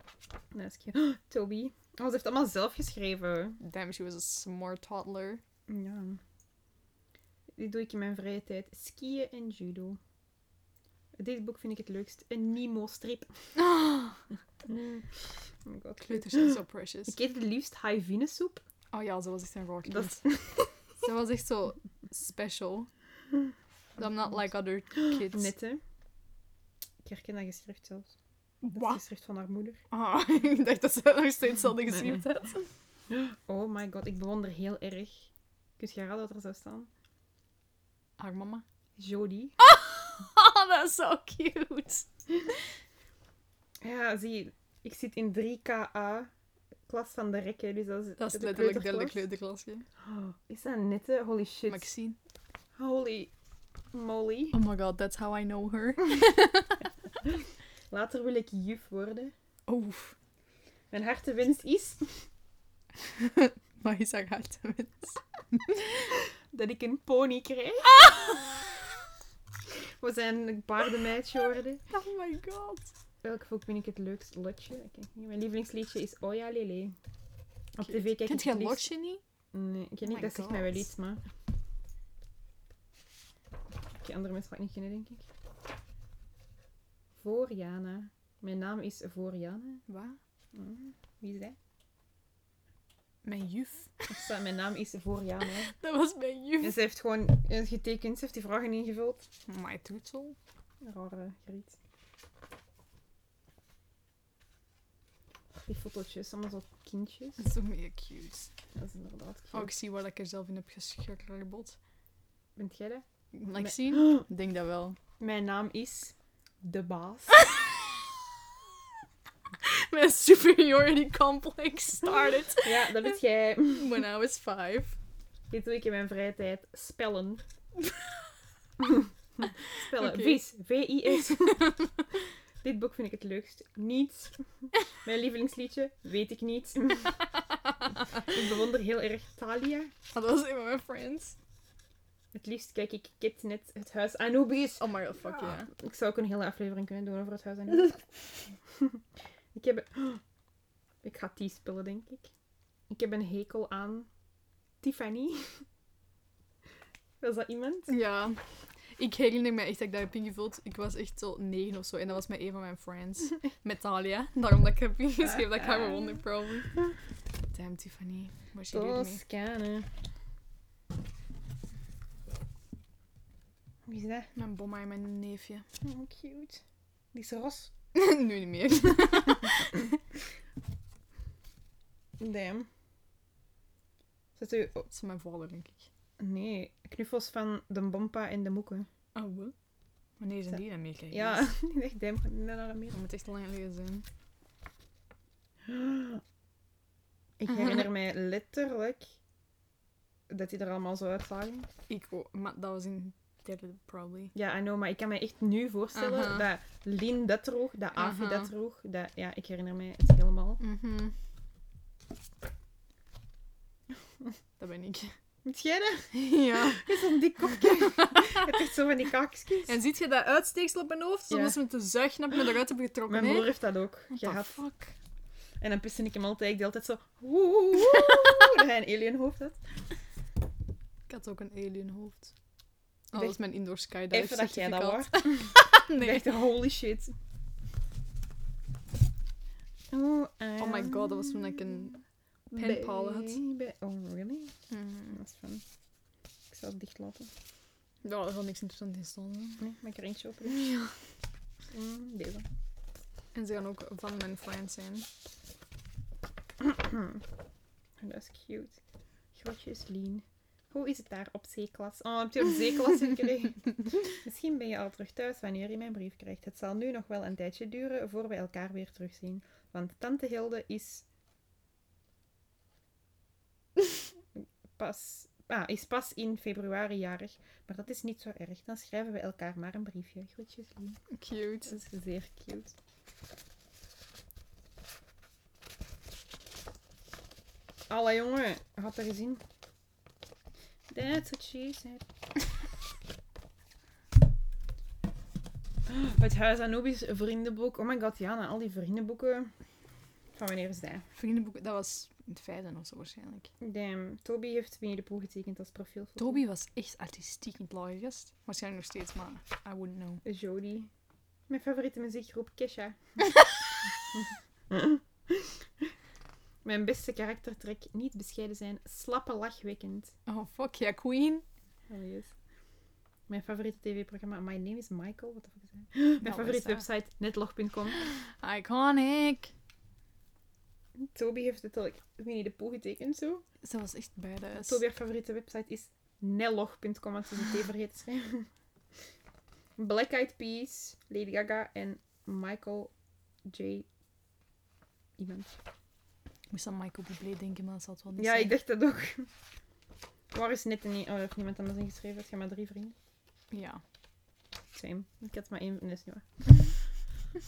Dat is cute. Oh, Toby. Oh, ze heeft allemaal zelf geschreven.
Damn, she was a smart toddler.
Ja. Dit doe ik in mijn vrije tijd. Skiën en judo. Dit boek vind ik het leukst. Een Nemo-strip. Oh my god.
Kleuters zijn so precious.
Ik eet het liefst haivinesoep.
Oh ja, ze was echt een raar
Dat
kind. Ze was echt zo special. I'm not like other kids.
Nette. Ik herken dat geschrift zelfs. Dat is
Wat?
het geschrift van haar moeder.
Ah, ik dacht dat ze nog steeds hadden
Nee,
geschreven had.
Oh my god, ik bewonder heel erg. Kun je raden wat er zou staan?
Haar mama.
Jodie.
Oh, dat is so cute.
Ja, zie, ik zit in 3KA, klas van de rekken, dus dat is...
Dat is
de
letterlijk derde
kleuterklas.
kleuterklasje.
Oh, is dat nette? Holy shit.
Maxine.
Holy moly.
Oh my god, that's how I know her.
Later wil ik juf worden.
Oef.
Mijn hartenwens is
Maar is haar hart tenminste.
dat ik een pony krijg. We zijn een paardenmeidje worden.
Oh my god.
Welk volk vind ik het leukst? Lotje? Ik ken niet. Mijn lievelingsliedje is Oja Lele. Op
Cute.
tv kijk ik
Kent jij
het liefst-
Lotje niet?
Nee, ik ken niet.
my
dat zegt mij
God.
wel iets, maar... Oké, andere mensen ga ik niet kennen, denk ik. Voor Jana. Mijn naam is Voor Jana.
Wat?
Wie is dat?
Mijn juf.
Er staat mijn naam is voor ja, nee.
Dat was mijn
En
juf.
ze heeft gewoon eh, getekend, ze heeft die vragen ingevuld.
Maar toetel.
Rare griet. Die fotootjes, allemaal zo kindjes.
Dat is toch meer cute.
Dat is inderdaad cute.
Oh, ik zie waar ik er zelf in heb geschrabbeld.
Bent jij dat?
Ik
Nee.
zie. Ik denk dat wel.
Mijn naam is De Baas.
Mijn superiority complex started
ja, dat weet jij.
when I was five.
Dit doe ik in mijn vrije tijd. Spellen. Spellen.
Oké.
Vis. V-I-S. Dit boek vind ik het leukst. Niets. Mijn lievelingsliedje. Weet ik niet. ik bewonder heel erg Thalia.
Ah, dat was een van mijn friends.
Het liefst kijk ik Kitnet, het huis Anubis.
Oh my god, fuck ja.
Ik zou ook een hele aflevering kunnen doen over het huis Anubis. ik heb... Ik ga die spelen, denk ik. Ik heb een hekel aan Tiffany. Was dat iemand?
Ja. Ik herinner me echt dat ik dat heb ingevuld. Ik was echt tot negen of zo. En dat was met een van mijn friends. Met Talia. Daarom dat ik heb ingeschreven dat ik haar bewonder, probably. Damn, Tiffany. Wat je doet mee.
Toscane. Wie is dat?
Mijn bomma en mijn neefje.
Oh, cute. Die is ros.
nu niet meer.
Damn. Zet u... oh,
Dat is mijn vader, denk ik.
nee, knuffels van de Bompa en de Moeken.
Oh, wat? Wanneer zijn die in Amerika?
Ja,
geweest?
die echt damn. gaat niet naar meer.
Dat moet echt lang geleden zijn.
Ik
Mhm.
herinner mij letterlijk dat die er allemaal zo uitzagen.
Ik ook. Maar dat was in derde, probably.
Ja, I know, maar ik kan me echt nu voorstellen
Aha.
dat Lin dat droeg, dat Avi
Aha.
dat droeg. Dat, ja, ik herinner mij het helemaal.
Mhm. dat ben ik.
Moet jij dat?
ja.
Is dat een dik kopje? het is zo van die kakjes.
En ziet je dat uitsteeksel op mijn hoofd?
Ja.
Soms met de zuig naar me eruit hebben getrokken.
Mijn
hè?
broer heeft dat ook
What the
gehad.
fuck?
En dan piste ik hem altijd. Ik deed altijd zo... woe, woe, woe, dat hij een alienhoofd had.
Ik had ook een alien hoofd.
Echt?
Oh, dat is mijn indoor skydive
Even dat jij dat
certificaat.
wordt.
Nee.
Echt, holy shit. Oh,
Oh my god, dat was toen ik een... pen pal had.
baby- Oh, really?
Mm.
Dat is fun. Ik zal het dicht laten.
Ja, er zal niks interessants in staan. hè.
Nee, mag ik er eentje open doen? Ja. deze.
En ze gaan ook van mijn friends zijn.
En dat is cute. Groetjes, Lien. Hoe is het daar op C-klas? Oh, heb je op C-klas gekregen? Misschien ben je al terug thuis wanneer je mijn brief krijgt. Het zal nu nog wel een tijdje duren voor we elkaar weer terugzien. Want tante Hilde is... Pas... Ah, is pas in februari jarig. Maar dat is niet zo erg. Dan schrijven we elkaar maar een briefje. Groetjes, Lien.
Cute.
Dat is zeer cute. Alle jongen, had er gezien. That's what she said. Het Huis Anubis vriendenboek. Oh my god, Jana, al die vriendenboeken. Van wanneer is dat?
Vriendenboek, dat was in het vijfde of zo waarschijnlijk.
Damn, Toby heeft Winnie de Pooh getekend als profielfoto.
Toby was echt artistiek in het lage gast. Waarschijnlijk nog steeds, maar I wouldn't know.
Jodie. Mijn favoriete muziekgroep, Kesha. Mijn beste karaktertrek, niet bescheiden zijn, slappe lachwekkend.
Oh fuck ja, Queen.
Obvious. Mijn favoriete tv-programma, My Name is Michael, wat de fuck is dat? Mijn
is
favoriete
dat.
website, netlog.com.
Ah, Iconic.
Toby heeft het al, ik weet niet, de poe getekend zo.
Ze was echt badass.
Toby, haar favoriete website is nellog.com, want ze is een T vergeten te schrijven. Black Eyed Peas, Lady Gaga en Michael J. Iemand.
Ik moest aan Michael Bublé denken, maar dat zal het wel niet
Ja,
zijn.
ik dacht dat ook. Waar is net niet? Oh, daar heeft niemand anders ingeschreven. Het zijn maar drie vrienden.
Ja.
Same. Ik had maar één. Nee, is niet waar.
oh,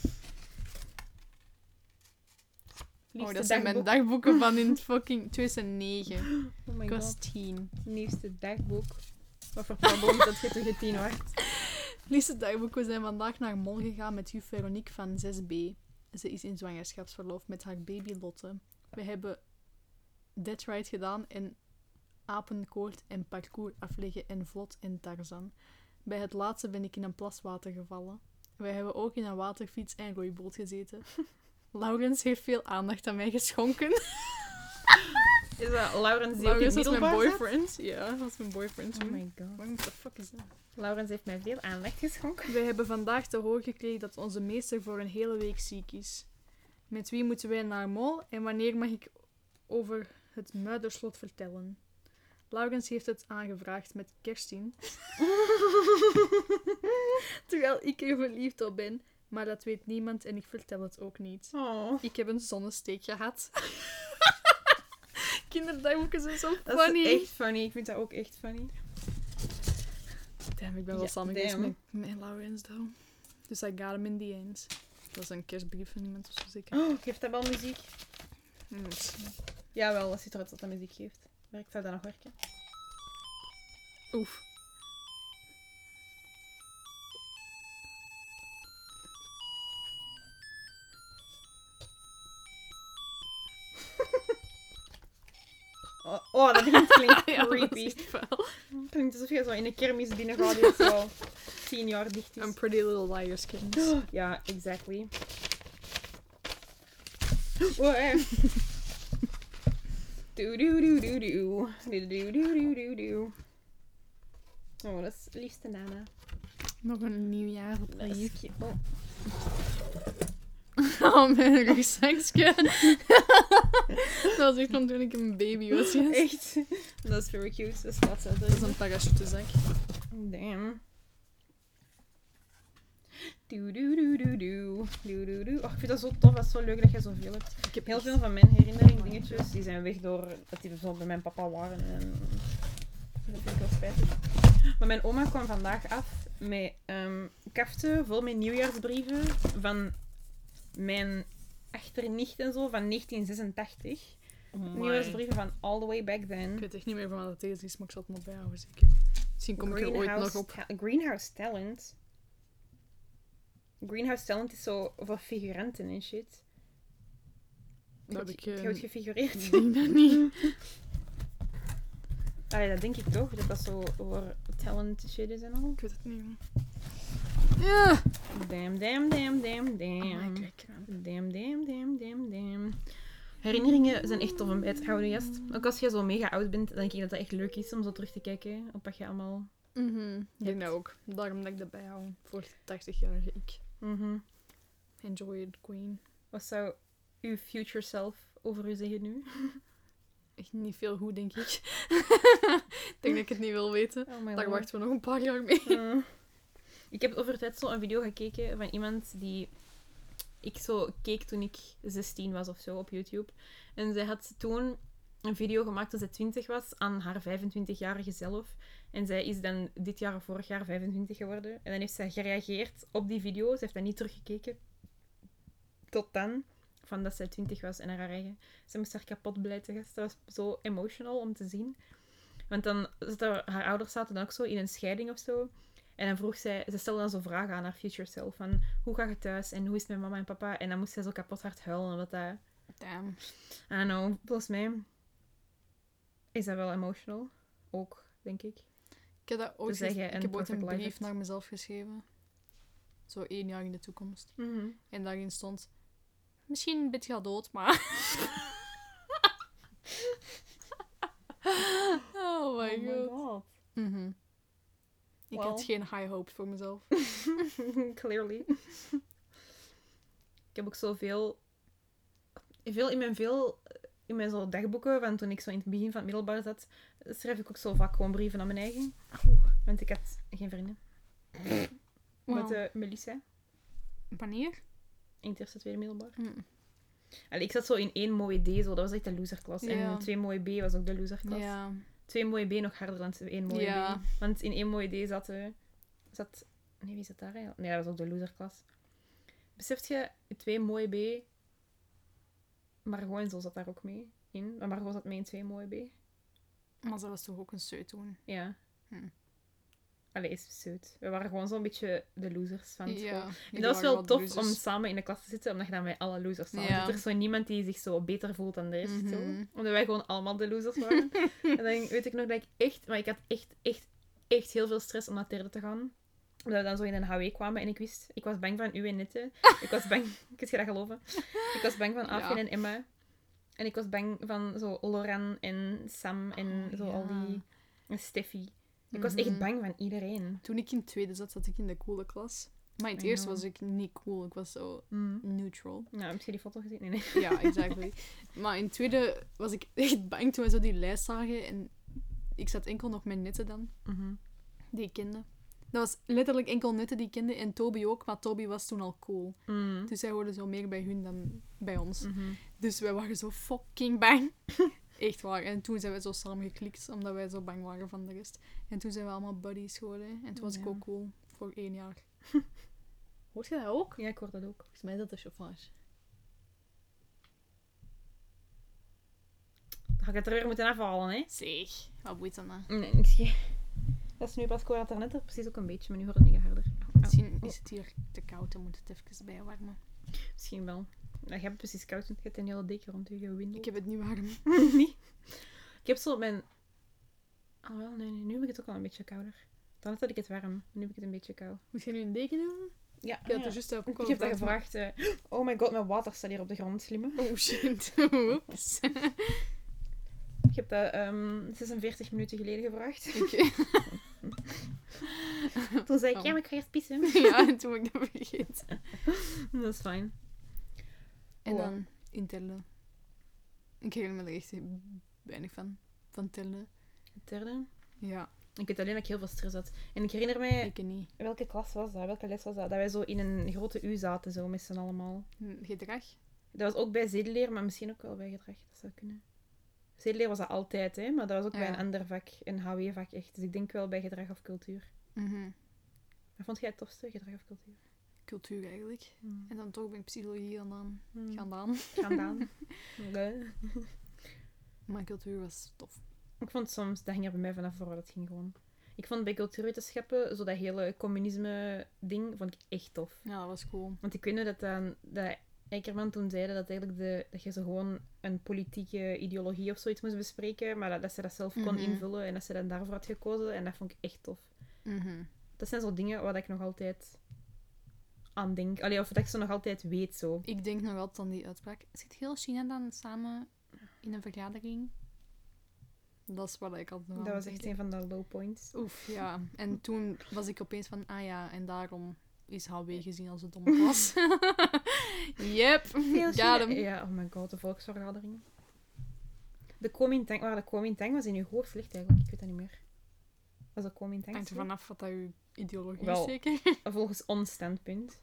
Liefste
dat zijn mijn
dagboek.
dagboeken van in fucking 2009.
Oh my
Ik was
god.
tien.
Liefste dagboek. Wat voor probleem dat je tegen tien was.
Liefste dagboek, we zijn vandaag naar Mol gegaan met juf Veronique van 6B. Ze is in zwangerschapsverlof met haar baby Lotte. We hebben Dead Ride gedaan en apenkoord en parcours afleggen en vlot en Tarzan. Bij het laatste ben ik in een plas water gevallen. Wij hebben ook in een waterfiets en roeiboot gezeten. Laurens heeft veel aandacht aan mij geschonken.
Is dat Laurens die op het
Laurens was mijn
middelbaar zat?
boyfriend. Ja, dat was mijn boyfriend
Oh
toen.
my god.
What the fuck is dat?
Laurens heeft mij veel aanleg geschonken.
We hebben vandaag te horen gekregen dat onze meester voor een hele week ziek is. Met wie moeten wij naar Mol en wanneer mag ik over het Muiderslot vertellen? Laurens heeft het aangevraagd met Kerstin. Terwijl ik er verliefd op ben, maar dat weet niemand en ik vertel het ook niet.
Oh.
Ik heb een zonnesteek gehad. Kinderdagboeken zijn zo
Dat
funny.
is echt funny. Ik vind dat ook echt funny.
Damn, ik ben wel
Ja,
samen geweest
damn.
met, met Laurens, though. Dus I got him in the end. Dat is een kerstbrief van iemand of zo, zeker.
Oh, geeft dat wel muziek?
Hmm,
Oh.
misschien.
Jawel, dat ziet eruit dat dat muziek geeft. Werkt dat dan nog werken?
Oef.
Oh, oh dat begint klinkt
Ja, dat
creepy.
is echt vuil.
Het klinkt alsof je zo in een kermis binnengaat die zo tien jaar dicht
I'm
is.
pretty little liars, kids.
Ja, exactly. Oh, eh. Doe, doe, doe, doe, doe. Doe, doe, doe, doe, doe, doe. Oh, dat is liefste Nana.
Nog een nieuw jaar op
Dat is cute. Oh.
Oh, mijn rugzakje. dat was echt van toen ik een baby was. yes.
Echt. Dat is very cute. Dat staat zo.
Dat is een parachutezak.
Damn. Doe, doe, doe, doe, doe. Doe, doe, doe. Oh, ik vind dat zo tof. Dat is zo leuk dat jij zoveel hebt.
Ik heb
Heel
echt-
veel van mijn herinnering dingetjes, die zijn weg door dat die bijvoorbeeld bij mijn papa waren. En dat vind ik wel spijtig. Maar mijn oma kwam vandaag af met ehm kaften vol met nieuwjaarsbrieven van mijn achternicht en zo van 1986.
Amai.
Nieuwjaarsbrieven van all the way back
Oh Ik
then.
weet echt niet meer van wat dat deze is, dus maar ik zal het nog bijhouden, zeker. Misschien kom ik er ooit nog op.
Ta- Greenhouse Talent. Greenhouse Talent is zo voor figuranten en shit.
Dat heb ik,
Je
eh,
wordt gefigureerd.
Ik denk dat niet.
Allee, dat denk ik toch, dat dat zo voor talent shit is en al.
Ik weet het niet. Ja!
Damn, damn, damn, damn,
Oh,
damn.
ik krijg kraam.
damn, damn, damn, damn, damn. Herinneringen zijn echt tof om bij te houden, gast. Ook als je zo mega oud bent, dan denk ik dat dat echt leuk is om zo terug te kijken op wat je allemaal...
Mhm, Ik denk
Hebt.
dat ook. Daarom dat ik dat bijhoud. Voor 80-jarige ik.
Mhm.
Enjoy it, queen.
Wat zou uw future self over u zeggen nu?
Echt niet veel goed, denk ik. ik denk dat ik het niet wil weten.
Oh my
Daar wachten we nog een paar jaar mee.
Mm. Ik heb over tijd zo een video gekeken van iemand die ik zo keek toen ik 16 was of zo op YouTube. En zij had toen een video gemaakt toen zij 20 was aan haar 25-jarige zelf. En zij is dan dit jaar of vorig jaar 25 geworden. En dan heeft zij gereageerd op die video. Ze heeft dat niet teruggekeken. Tot dan. Van dat zij 20 was en naar haar eigen. Ze moest haar kapot blijten. Dat was zo emotional om te zien. Want dan zat haar, haar ouders zaten dan ook zo in een scheiding of zo. En dan vroeg zij, ze stelde dan zo vragen aan haar future self. Van, hoe gaat het thuis? En hoe is het met mama en papa? En dan moest zij zo kapot hard huilen. Omdat dat, I
Damn.
don't know, volgens mij is dat wel emotional. Ook, denk ik.
Ik heb, dat ooit
Dus dat
ges-
jij
ik
een
heb ooit een
perfect life
brief
hebt.
naar mezelf geschreven. Zo één jaar in de toekomst. En daarin stond... Misschien bent je al dood, maar... oh my god. Mhm. Ik had
Wel.
geen high hopes voor mezelf.
Clearly. ik heb ook zoveel... Veel in mijn, veel, in mijn zo dagboeken, van toen ik zo in het begin van het middelbaar zat, schrijf ik ook zo vaak gewoon brieven aan mijn eigen. Want ik had geen vrienden. Met
Wauw.
eh, Melissa,
Wanneer?
in het eerste, tweede middelbaar.
Mm.
Allee, ik zat zo in één mooie D, zo. dat was echt de loserklas.
Ja.
En twee mooie B was ook de loserklas.
Ja.
Twee mooie B nog harder dan één mooie
Ja.
B. Want in één mooie D zat, eh, zat... Nee, wie zat daar eigenlijk? Nee, dat was ook de loserklas. Beseft je, twee mooie B... Margot en zo zat daar ook mee in. Maar Margot zat mee in twee mooie B.
Maar ze was toch ook een seut toen?
Ja.
Hm.
Allee, is zoet. We waren gewoon zo'n beetje de losers van school. En
die
dat was
waren
wel tof
losers.
om samen in de klas te zitten, omdat je dan met alle losers samen
dus- Ja.
zit. Er is zo niemand die zich zo beter voelt dan de rest. zo.
Mhm.
Omdat wij gewoon allemaal de losers waren. en dan weet ik nog dat ik echt... Maar ik had echt, echt, echt heel veel stress om naar derde te gaan. Omdat we dan zo in een HW kwamen en ik wist... Ik was bang van u en Nette. Ik was bang... Kun je dat geloven? Ik was bang van Afin
Ja.
en Emma. En ik was bang van zo Loran en Sam en
Oh,
zo al
ja.
die... En Steffi. Ik was echt
Mhm.
bang van iedereen.
Toen ik in het tweede zat, zat ik in de coole klas. Maar in het
I
eerste
know.
was ik niet cool. Ik was zo neutral.
Nou, heb je die foto gezien? Nee, nee.
Ja, exactly. maar in het tweede was ik echt bang toen we zo die lijst zagen. En ik zat enkel nog met netten dan, die ik kende. Dat was letterlijk enkel netten die ik kende. En Toby ook, maar Toby was toen al cool.
Mm.
Dus zij hoorden zo meer bij hun dan bij ons.
Mhm.
Dus wij waren zo fucking bang. Echt waar. En toen zijn we zo samen geklikt, omdat wij zo bang waren van de rest. En toen zijn we allemaal buddies geworden. En toen was ik
Ja.
ook cool. Voor één jaar. Hoort je dat ook?
Ja, ik hoor dat ook.
Volgens mij is dat de chauffage.
Dan ga ik het er weer moeten afhalen, hè.
Zeg, wat boeit dat nou?
Nee, ik zie... Dat is nu pas, ik hoor het daarnet er precies ook een beetje, maar nu hoor ik het niet harder.
Misschien is het hier te koud en moet het even bijwarmen.
Misschien wel. Ja, je hebt het precies koud, want je hebt een hele dikke rond je window.
Ik heb het nu warm.
niet. Ik heb zo mijn... Ah, wel, nee, nee, nu heb ik het ook al een beetje kouder. Dan had ik het warm, nu heb ik het een beetje koud.
Moet jij nu een deken doen? Ah,
Ja,
Ik had er juist ook
Ik
al
heb dat
gevraagd.
gevraagd. eh, Oh my god, mijn water staat hier op de grond, slimme.
Oh shit. Oeps.
Ik heb dat ehm, 46 minuten geleden gevraagd.
Oké.
Toen zei ik,
Oh.
ja, maar ik ga eerst pissen.
ja, en toen heb ik dat vergeten.
Dat is fijn.
En
Wow.
dan in Telle. Ik herinner me er echt weinig van. Van Telle.
Het derde.
Ja,
Ik weet alleen dat ik heel veel stress had. En ik herinner mij,
ik niet.
welke klas was dat? Welke les was dat? Dat wij zo in een grote U zaten, zo met z'n allemaal.
Hm, Gedrag?
Dat was ook bij zedeleer, maar misschien ook wel bij gedrag. Dat zou kunnen. Zedeleer was dat altijd, hè? maar dat was ook bij
Ja.
een ander vak, een HW-vak echt. Dus ik denk wel bij gedrag of cultuur.
Mhm.
Wat vond jij het tofste, gedrag of cultuur?
Cultuur eigenlijk.
Hmm.
En dan toch ben ik psychologie dan aan
Hmm.
gaan doen.
Gandaan. Nee.
Maar cultuur was tof.
Ik vond soms, dat ging er bij mij vanaf voor waar het ging gewoon. Ik vond bij cultuurwetenschappen, zo dat hele communisme-ding, vond ik echt tof.
Ja, dat was cool.
Want ik weet nu dat, dan, dat Eikerman toen zei dat, eigenlijk de, dat je zo gewoon een politieke ideologie of zoiets moest bespreken, maar dat, dat ze dat zelf kon
Mhm.
invullen en dat ze dan daarvoor had gekozen. En dat vond ik echt tof.
Mhm.
Dat zijn zo dingen waar ik nog altijd aan denk. Allee, of dat ik ze nog altijd weet zo.
Ik denk nog altijd aan die uitspraak. Zit heel China dan samen in een vergadering? Dat is wat ik altijd nog
Dat
aan
was
denk,
echt
hè.
een van de low points.
Oef, ja. En toen was ik opeens van, ah ja, en daarom is HW gezien als het domme was. yep, got him.
Ja, oh my god, de volksvergadering. De Kuomintang, waar de Kuomintang was in uw hoofd ligt eigenlijk. Ik weet dat niet meer. Was dat
Hangt
Kuomintang?
er vanaf wat dat uw ideologie
Wel.
is, zeker.
Volgens ons standpunt.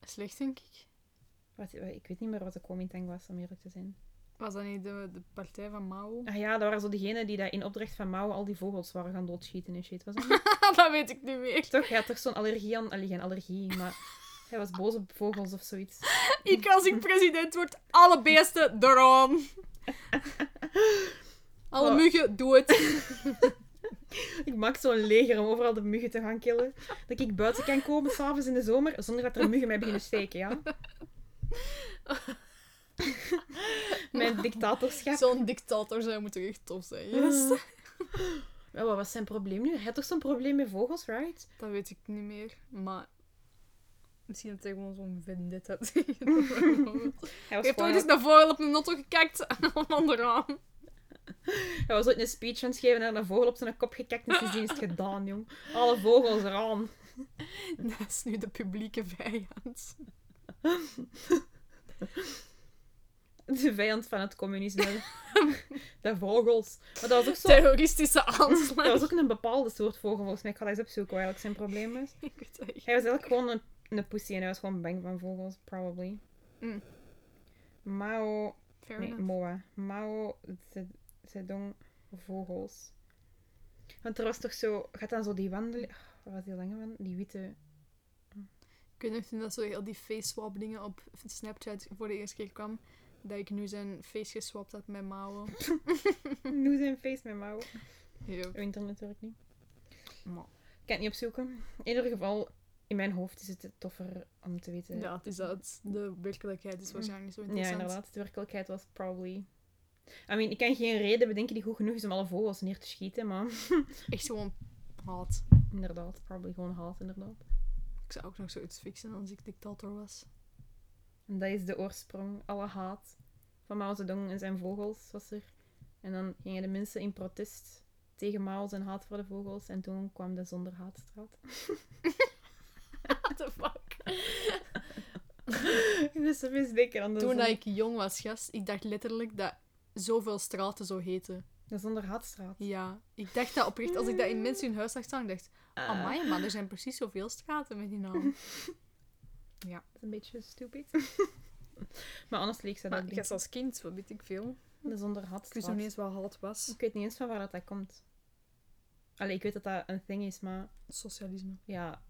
Slecht, denk ik.
Wat, wat- ik weet niet meer wat de Kuomintang was, om eerlijk te zijn.
Was dat niet de, de partij van Mao?
Ah ja, dat waren zo degenen die dat in opdracht van Mao al die vogels waren gaan doodschieten en shit. Was dat niet?
dat weet ik niet meer.
toch? Hij had toch zo'n allergie aan... Allee, geen allergie, maar... Hij was boos op vogels of zoiets.
Ik, als ik president word, alle beesten erom. Alle
Oh.
muggen, doe het.
Ik maak zo'n leger om overal de muggen te gaan killen. Dat ik buiten kan komen s'avonds in de zomer zonder dat er muggen mij beginnen steken, ja? Mijn dictatorschap.
Zo'n dictator zou moeten echt tof zijn. Yes.
Mm. Maar wat was zijn probleem nu? Hij had toch zo'n probleem met vogels, right?
Dat weet ik niet meer, maar... Misschien dat hij gewoon zo'n vendetta
Hij dus
Je
was,
hebt
gewoon-
ooit eens naar voren op een auto gekeken, allemaal eraan.
hij was ooit een speech aan het geven en had een vogel op zijn kop gekakt en sindsdien is het gedaan, jong. Alle vogels eraan.
Dat is nu de publieke vijand.
De vijand van het communisme. De vogels. Maar dat was ook zo...
Terroristische aanslag.
Dat was ook een bepaalde soort vogel, volgens mij. Ik ga dat eens opzoeken, wat eigenlijk zijn probleem was.
Ik weet het echt.
Hij was eigenlijk gewoon een, een pussy en hij was gewoon bang van vogels, probably.
Mm.
Mao...
Fair
Nee,
enough.
Moa. Mao Zed- Zedong vogels. Want er was toch zo... Gaat dan zo die wandelen... Oh, wat was die lange van? Die witte...
Ik weet nog toen dat zo heel die face swap dingen op Snapchat voor de eerste keer kwam, dat ik nu zijn face geswapt had met mouwen.
Nu zijn face met Mao.
Yep.
Uw internet werkt niet.
Maar-
Ik kan het niet opzoeken. In ieder geval, in mijn hoofd is het toffer om te weten...
Ja, het is dat. De werkelijkheid is waarschijnlijk niet zo
Ja,
interessant.
inderdaad. De werkelijkheid was probably... I mean, ik kan geen reden bedenken die goed genoeg is om alle vogels neer te schieten, maar...
Echt gewoon haat.
Inderdaad, probably gewoon haat, inderdaad.
Ik zou ook nog zoiets fixen als ik dictator was.
En dat is de oorsprong, alle haat. van Mao Zedong en zijn vogels was er. En dan gingen de mensen in protest tegen Mao zijn haat voor de vogels. En toen kwam de Zonder Haatstraat.
What the fuck?
ik moest er eens denken aan de,
Toen
zon-
dat ik jong was, gast, ik dacht letterlijk dat zoveel straten zo heten.
de Zonder Haatstraat.
Ja, ik dacht dat oprecht. Als ik dat in mensen hun huis zag staan, ik dacht
Ah,
Amai, maar er zijn precies zoveel straten met die naam.
dat is een beetje stupid. maar anders leek ze dat
Maar
ook
ik
niet.
was als kind, wat weet ik veel.
De Zonder
Ik wist nog
Haatstraat.
niet eens wat halt was.
Ik weet niet eens van waar dat, dat komt. Allee, ik weet dat dat een thing is, maar
Socialisme.
ja,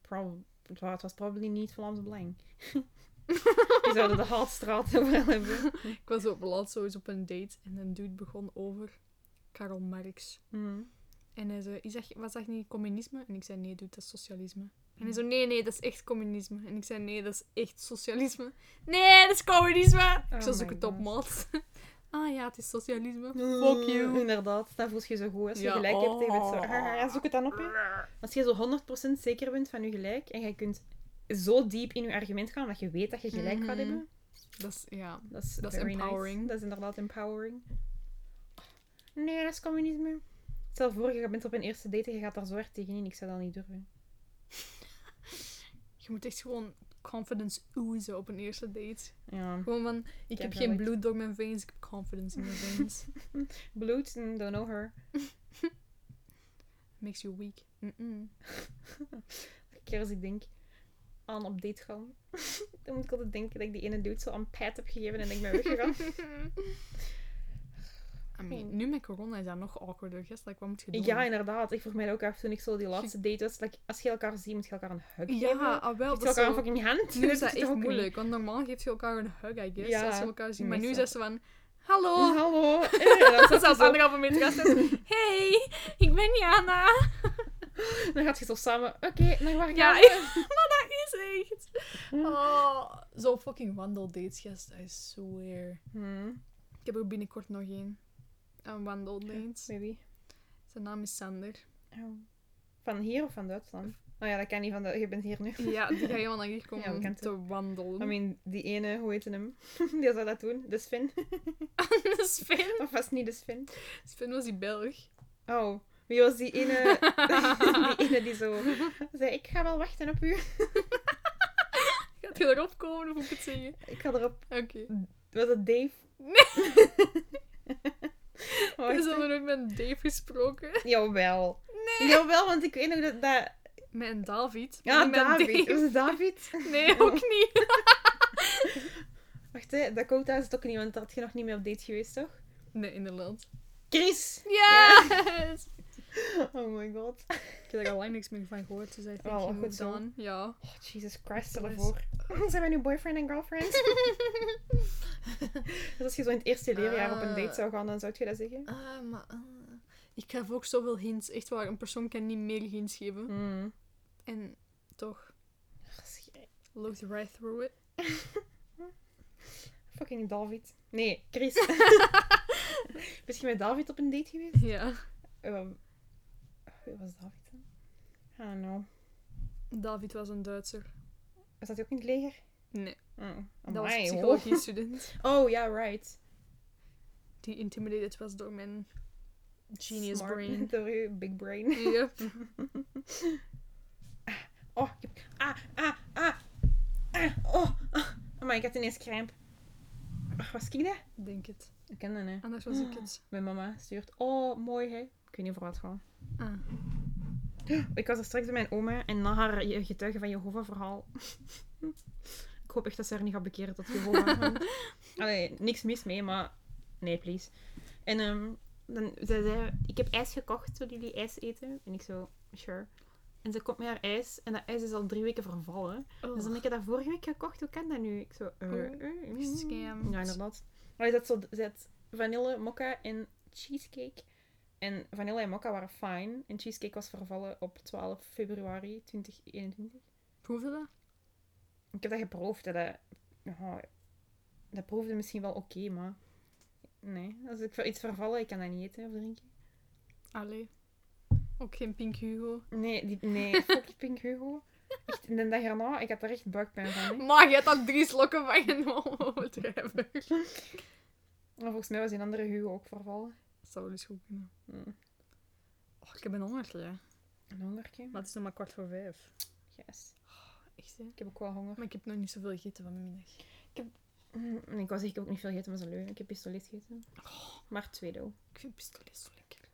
prob- het wa- het was probably niet Vlaams Belang. Die zouden de Haatstraat overal hebben.
Ik was op laatst zo eens op een date en een dude begon over Karl Marx.
Mhm.
En hij zei, is dat, was dat niet communisme? En ik zei, nee dude, dat is socialisme. En
Mm.
hij zo, nee, nee, dat is echt communisme. En ik zei, nee, dat is echt socialisme. Nee, dat is communisme!
Oh
ik zo zoek
my Mm.
het op,
God.
maat. ah ja, het is socialisme. Fuck you.
Inderdaad, dat voelt je zo goed. Als je
Ja,
gelijk hebt tegen het zo.
oh.
ah, ah, zoek het dan op. Hè. Als je zo 100% zeker bent van je gelijk en je kunt zo diep in je argument gaan omdat je weet dat je gelijk gaat
Mhm.
hebben,
Dat is, ja.
dat is,
Dat is
very nice.
empowering.
Dat is inderdaad empowering. Nee, dat is communisme. Stel voor, je bent op een eerste date en je gaat daar zo hard tegenin. Ik zou dat niet durven.
Je moet echt gewoon confidence oezen op een eerste date.
Ja.
Gewoon van, ik
heb
heb geen
wel-
bloed door mijn veins, ik heb confidence in mijn veins.
Bloed, mm, don't know her.
Makes you weak. Mm-mm.
Elke keer als ik denk aan op date gaan, dan moet ik altijd denken dat ik die ene dude zo aan pijt heb gegeven en dat ik ben weggegaan.
I mean, nu met corona is dat nog awkwarder. Gast, like, wat moet je doen?
Ja, inderdaad. Ik vroeg mij dat ook af toen ik zo die laatste date was. Like, als je elkaar ziet, moet je elkaar een hug geven.
ja ah, wel.
Geef je
Dat is
elkaar een
zo-
fucking hand.
Nu is
toch
dat echt
ook niet?
moeilijk, want normaal geeft je elkaar een hug, I guess,
Ja,
als je elkaar ziet. Maar nu
meestal.
is ze van, hallo.
Oh, hallo. Eh, dan,
Dat
zat
is
je
als
zo,
anderhalve meter gast is. Hey, ik ben Jana.
dan gaat je zo samen. Oké, naar waar
Ja,
gaan we?
maar dat is echt... Oh, zo fucking wandeldates, gast, I swear.
Hmm,
Ik heb er binnenkort nog één. Een wandeldate.
maybe.
Zijn naam is Sander.
Oh. Van hier of van Duitsland? Nou ja, dat kan niet van Duitsland. Je bent hier nu.
Ja, die gaat helemaal naar hier komen
Ja, we
om
kennen
te wandelen.
I mean, die ene, hoe heette hem? Die zou dat doen. De Sven.
Sven.
Of was het niet de Sven?
Sven was die Belg.
Oh, wie was die ene, die ene die zo zei, ik ga wel wachten op u.
Gaat je erop komen of moet ik het zeggen?
Ik ga erop...
Oké.
Was het Dave?
Er is
Nee!
al nooit met een Dave gesproken.
Jawel. Jawel, want ik weet nog dat... dat...
Met een David.
Ja,
Niet met een
David.
Dave.
Was het David?
Nee, ook niet.
Wacht, hè. Dakota is het ook niet, want daar had je nog niet mee op date geweest, toch?
Nee, inderdaad.
Chris!
Yes!
Oh my god.
Ik heb daar al lang niks meer van gehoord, dus I think
Wel,
you
goed
moved
zo.
on. Ja.
Oh, Jesus Christ, stel je
Bless.
voor. Zijn we nu boyfriend en girlfriend? Dus als je zo in het eerste leerjaar op een date zou gaan, dan zou je dat zeggen?
Ah, maar... ah. ik geef ook zoveel hints. Echt waar, een persoon kan niet meer hints geven.
Hmm.
En toch, looked right through it.
Fucking David. Nee, Chris. ben je met David op een date geweest?
Ja.
Ehm, wie was David dan? I don't know.
David was een Duitser.
Was dat die ook in het leger?
Nee,
Mm.
dat was een
Amai,
psychologie-student.
hoor. Oh, ja, right.
Die intimidated was door mijn genius
Smart.
brain.
Door je big brain.
Yep.
Oh, ik heb- Ah, ah, ah. Ah, oh. Oh, maar ik had ineens kramp. Ach, was ik dat?
Denk het.
Ik ken dat, hè.
Anders was ik het.
Mijn mama stuurt. Oh, mooi, hè. Ik weet niet voor wat het gaat.
Ah.
Ik was er straks bij mijn oma en na haar je- getuige van Jehovah verhaal. ik hoop echt dat ze haar niet gaat bekeren tot Jehovah. Allee, niks mis mee, maar nee, please. En ehm, dan zei zij, ik heb ijs gekocht, zullen jullie ijs eten? En ik zo, sure. En ze komt met haar ijs en dat ijs is al drie weken vervallen. Dus
Oh.
dan heb ik dat vorige week gekocht, hoe kan dat nu? Ik zo, eh,
Oeh,
eh, eh.
gescamd.
Ja, inderdaad. Maar je zet, zo, je had vanille, mokka en cheesecake. En vanille en mokka waren fijn. En cheesecake was vervallen op 12 februari 2021.
Proefde dat?
Ik heb dat geproefd. hè, Dat, ja, dat proefde misschien wel oké, maar... Nee, als ik voor iets vervallen, ik kan dat niet eten of drinken.
Allee. Ook geen Pink Hugo.
Nee, die, nee, fucking Pink Hugo. Echt, en de dag erna, ik had er echt buikpijn van. hè.
Maar je hebt dan drie slokken van je mama overdrijven.
Maar volgens mij was die andere Hugo ook vervallen.
Dat zou wel eens goed kunnen.
Hmm.
Oh, ik heb een hongertje.
Een hongertje.
Maar het is nog maar kwart voor vijf.
Yes.
Echt, hè?
Ik heb ook wel honger.
Maar ik heb nog niet zoveel gegeten vanmiddag.
Mm, Ik was ik heb ook niet veel gegeten, maar dat is een leugen. Ik heb pistolet gegeten.
Oh.
Maar twee deel.
Ik vind pistolet zo lekker.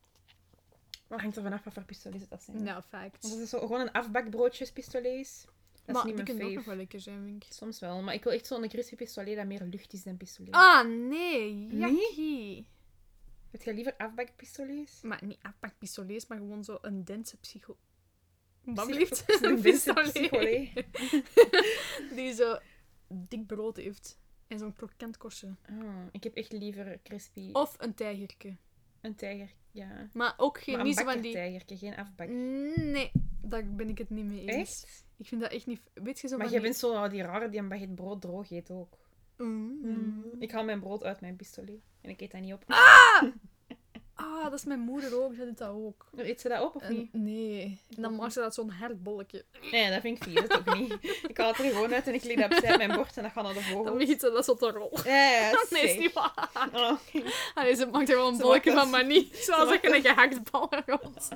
Maar hangt er vanaf wat voor pistolets dat zijn.
Nou, fact.
Want dat is zo gewoon een afbakbroodjes pistolets. Dat
maar
is
die
niet
kunnen
mijn
ook nog
fave.
wel lekker zijn, vind ik.
Soms wel, maar ik wil echt zo'n crispy pistolet dat meer lucht is dan pistolet.
Ah, nee. Jackie.
Heb jij liever afbakpistolets?
Maar niet ah, afpakpistolets, maar gewoon zo een dense psycho... Wat
Psycho-
blieft?
Een dense pistolet.
Die zo dik brood heeft. En zo'n krokant korstje.
Ah, ik heb echt liever crispy.
Of een tijgerke.
Een tijger, ja.
Maar ook geen,
maar een
niet zo van die...
bakkertijgerke, geen afbak.
Nee, daar ben ik het niet mee eens.
Echt?
Ik vind dat echt niet... Weet je zo
Maar
van
jij
die-
bent zo ah, die rare die een baguette brood droog eet ook.
Mm.
Ik haal mijn brood uit mijn pistolet. En ik eet dat niet op.
Ah, dat is mijn moeder ook. Zij doet dat ook.
Eet ze dat op of
En-
niet?
nee. En dan maakt ze dat zo'n herbolletje.
Nee, dat vind ik vies. Dat ook niet. Ik haal het er gewoon uit en ik leg dat opzij op mijn bord en dat gaat naar de
Dan
vogel.
begint ze dat zo te rollen.
Ja, Oh,
Nee, is niet waar. Allee, ze maakt er wel een
Ah, Ze
bolletje
maakt
van,
dat-
maar niet zoals
maakt
ik een gehakt bal rond.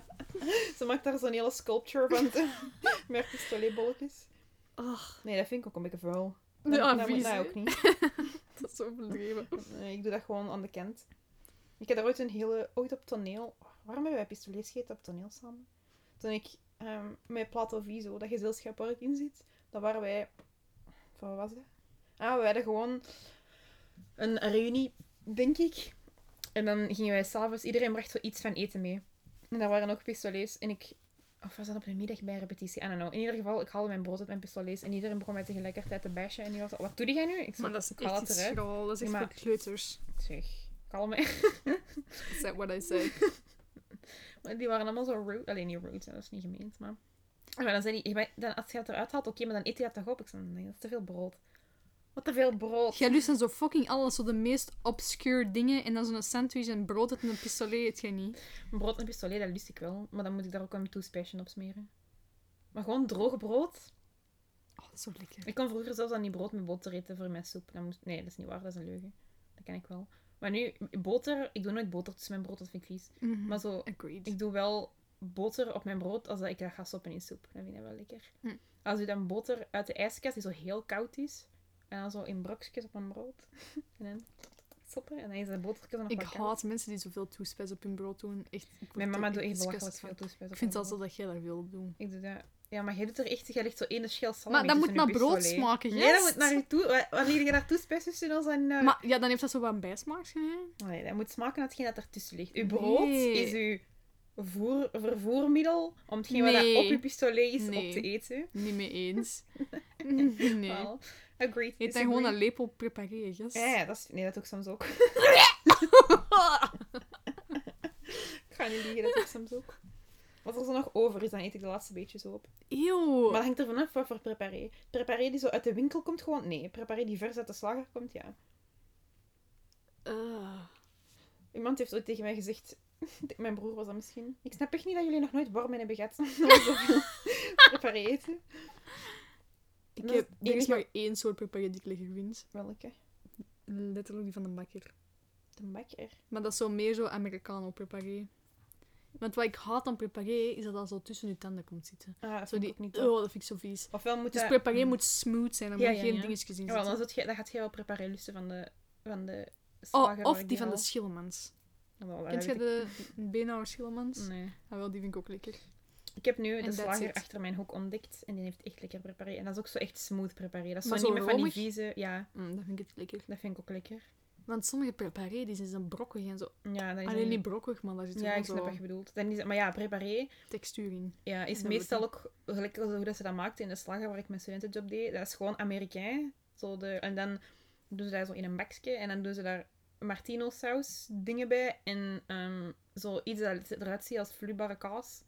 Ze maakt daar zo'n hele sculpture van. te- Met pistoletbolletjes.
Ach,
Nee, dat vind ik ook een beetje vuil. Dat,
ja,
dat
vies,
Ah, moet dat
hè.
ook niet.
Dat is zo verdreven.
Nee, Eh, ik doe dat gewoon aan de kant. Ik heb daar ooit een hele... Ooit op toneel... Waarom hebben wij pistolets gegeten op toneel samen? Toen ik ehm met Plato Viso, dat gezelschap waar ik in zit, dan waren wij... Van wat was dat? Ah, we hadden gewoon een reunie, denk ik. En dan gingen wij s'avonds... Iedereen bracht zo iets van eten mee. En daar waren ook pistolets. En ik... Of was dat op de middag bij repetitie? I don't know. In ieder geval, ik haalde mijn brood uit mijn pistolets. En iedereen begon mij tegelijkertijd te bashen. En die was zo, wat doe jij nu? Ik
Maar
zei,
dat is
ik haal
echt
het
iets
eruit.
school. Dat is echt
Maar-
voor kleuters.
Zeg, kalm hè.
Is that what I said?
Maar Die waren allemaal zo rude. Alleen niet rude, hè, dat is niet gemeend, maar... Ah, Maar dan zei hij, dan, als je het eruit haalt, oké, maar dan eet je dat toch op? Ik zei, nee, dat is te veel brood. Wat te veel brood.
Jij lust dan zo fucking alles, zo de meest obscure dingen. En dan zo'n sandwich en brood uit een pistolet eet jij niet.
Brood en pistolet, dat lust ik wel. Maar dan moet ik daar ook een toespijsje op smeren. Maar gewoon droog brood.
Oh, dat is zo lekker.
Ik kon vroeger zelfs aan die brood met boter eten voor mijn soep. Dan moest... Nee, dat is niet waar, dat is een leugen. Dat kan ik wel. Maar nu, boter, ik doe nooit boter tussen mijn brood, dat vind ik vies.
Mhm.
Maar zo,
Agreed.
Ik doe wel boter op mijn brood als dat ik dat ga soppen in soep. Dan vind ik dat wel lekker.
Mm.
Als u dan boter uit de ijskast die zo heel koud is, en dan zo in brokjes op mijn brood, en dan soppen, en dan is dat botertje nog
Ik
wat koud.
haat mensen die zoveel toespijs op hun brood doen. Echt, ik word
Mijn mama
er
doet echt
disgust
belachelijk
van.
veel toespijs op
Ik vind
haar
dat zo
brood.
dat jij daar veel op doen.
Ik doe dat... Ja, maar jij doet er echt... Jij legt zo ene schil salami
Maar dat moet
tussen
naar
je
brood
pistolet.
smaken,
Nee, dat
gast.
moet naar je toe... wa- Wanneer je daar toespijs tussen doet, dan... eh,
Maar ja, dan heeft dat zo wat een bijsmaakje, hè?
Nee, dat moet smaken naar hetgeen dat ertussen ligt. Uw brood
Nee.
is uw voer, vervoermiddel om hetgeen wat
Nee.
dat op uw pistolet is
Nee.
op te eten.
Niet mee eens. nee.
Wel, agreed.
Eet dan gewoon
disagree.
een lepel prepareren, yes.
Ja, ja, dat is, nee, dat doe ik soms ook. Ik ga niet liegen, dat doe ik soms ook. Wat er zo nog over is, dan eet ik de laatste beetjes op.
Eeuw.
Maar dat hangt er vanaf wat voor preparé. Preparé die zo uit de winkel komt, gewoon... Nee, preparé die vers uit de slager komt, ja.
Eh,
Iemand heeft ooit tegen mij gezegd... Mijn broer was dat misschien. Ik snap echt niet dat jullie nog nooit warm in hebben gehad. Omdat we zoveel preparé eten.
ik
Dat is
heb,
het
er is
enige-
maar één soort prepareren die ik lekker vind.
Welke?
Letterlijk die van de bakker.
De bakker.
Maar dat is zo meer zo Americano prepareren. Want wat ik haat aan prepareren is dat dat zo tussen je tanden komt zitten.
Ah, dat
Zo
vind ik
die...
ook niet
Oh,
top.
dat vind ik zo vies.
Ofwel moet
Dus
dat...
prepareren moet smooth zijn, er
Ja,
moet
ja,
geen
ja.
dingetjes
Ja, wel,
in zitten.
dan, zult jij- dan gaat jij wel preparé lusten van de, van de slager.
Oh,
waar
of
ik
die van de
haal.
Schillemans.
Wel, Oh, dat
Kent
weet
jij
ik-
de Benauer Schillemans?
Nee.
Ah, wel, die vind ik ook lekker.
Ik heb nu
En
de
that's
slager
it.
achter mijn hoek ontdekt. En die heeft echt lekker preparé. En dat is ook zo echt smooth preparé. Dat is zo
Maar
niet
zo
meer van die
romig?
vieze... Ja,
Mm, dat vind ik echt lekker.
dat vind ik ook lekker.
Want sommige preparé die zijn zo brokkig en zo.
Ja, dat is
Alleen
een-
niet brokkig, maar daar zit
Ja, ik snap
gewoon
wat je
zo
bedoelt. Dan is, maar ja, preparé
textuur in.
ja, is
dat
meestal ook... Gelijk als hoe dat ze dat maakten in de slager waar ik mijn studentenjob deed. Dat is gewoon Amerikaan. Zo de, en dan doen ze dat zo in een bakje. En dan doen ze daar martino saus dingen bij. En ehm, zo iets dat eruit ziet als vloeibare kaas.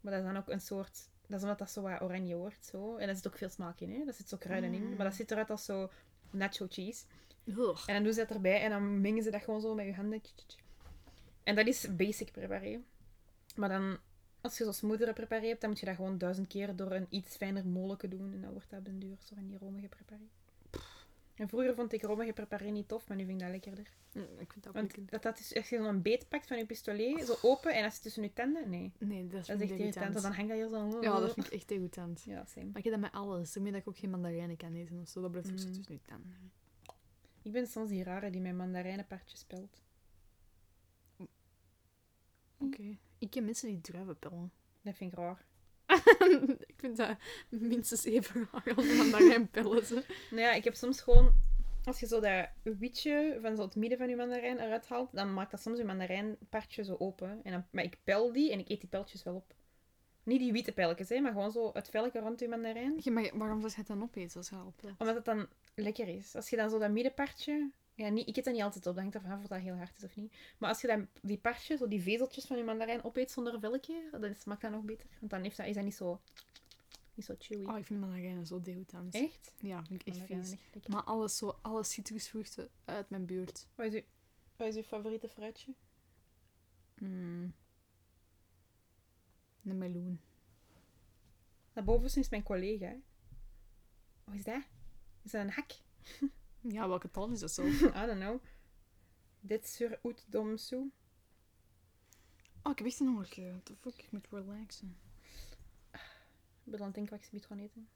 Maar dat is dan ook een soort... Dat is omdat dat zo wat oranje wordt. Zo. En daar zit ook veel smaak in. Hè? Daar zit zo kruiden in. Maar dat ziet eruit als zo nacho cheese.
Ugh.
En dan doen ze dat erbij en dan mengen ze dat gewoon zo met je handen. En dat is basic preparé. Maar dan, als je zo smoothere preparé hebt, dan moet je dat gewoon duizend keer door een iets fijner molenke doen. En dan wordt dat op den duur zo van die romige preparé. En vroeger vond ik rommige preparé niet tof, maar nu vind ik dat lekkerder.
Mm, Ik vind dat ook
Want dat, dat is echt zo'n beet pakt van je pistolet, zo open, en als het tussen je tanden... Nee,
Nee, dat is,
dat is echt irritant, want dan hangt dat hier zo...
Ja, dat vind ik echt irritant.
Ja, same.
Maar ik heb dat met alles. Daarmee dat ik ook geen mandarijnen kan eten of zo. Dat blijft ook zo
Mm.
tussen je tanden.
Ik ben soms die rare die mijn mandarijnenpartje speelt. Mm.
Oké. Ik ken mensen die druiven pillen.
Dat vind ik raar.
ik vind dat minstens even raar als mandarijnpillen. zo.
Nou ja, ik heb soms gewoon... Als je zo dat wietje van zo het midden van je mandarijn eruit haalt, dan maakt dat soms je mandarijnpartje zo open. En dan, maar ik pel die en ik eet die peltjes wel op. Niet die witte pelletjes, hè, maar gewoon zo het velletje rond je mandarijn.
Ja, maar waarom zou je het dan opeten als je al pil?
Omdat het dan lekker is. Als je dan zo dat middenpartje... Ja, niet, ik eet dat niet altijd op, dat hangt ervan af of dat heel hard is of niet. Maar als je dan die partje, zo die vezeltjes van je mandarijn opeet zonder velkje, dan is- smaakt dat nog beter. Want dan heeft dat, is dat niet zo... Niet zo chewy.
Oh, ik vind mandarijnen zo degoutant.
Echt? Oh
Ja, vind ik echt
Mandarijnen
vies.
echt lekker.
Maar alles zo, alle citrusvruchten uit mijn buurt.
Wat is, uw, wat is uw favoriete fruitje?
Mm. Een meloen.
Daarboven is mijn collega. hè. Wat is dat? Is dat een hak?
Ja, welke tal is dat zo?
I don't know. Dit sur oet domsoe.
Oh, ik heb echt een honger. What the fuck? Ik moet relaxen.
Ik ben aan het denken wat ik zometeen ga eten.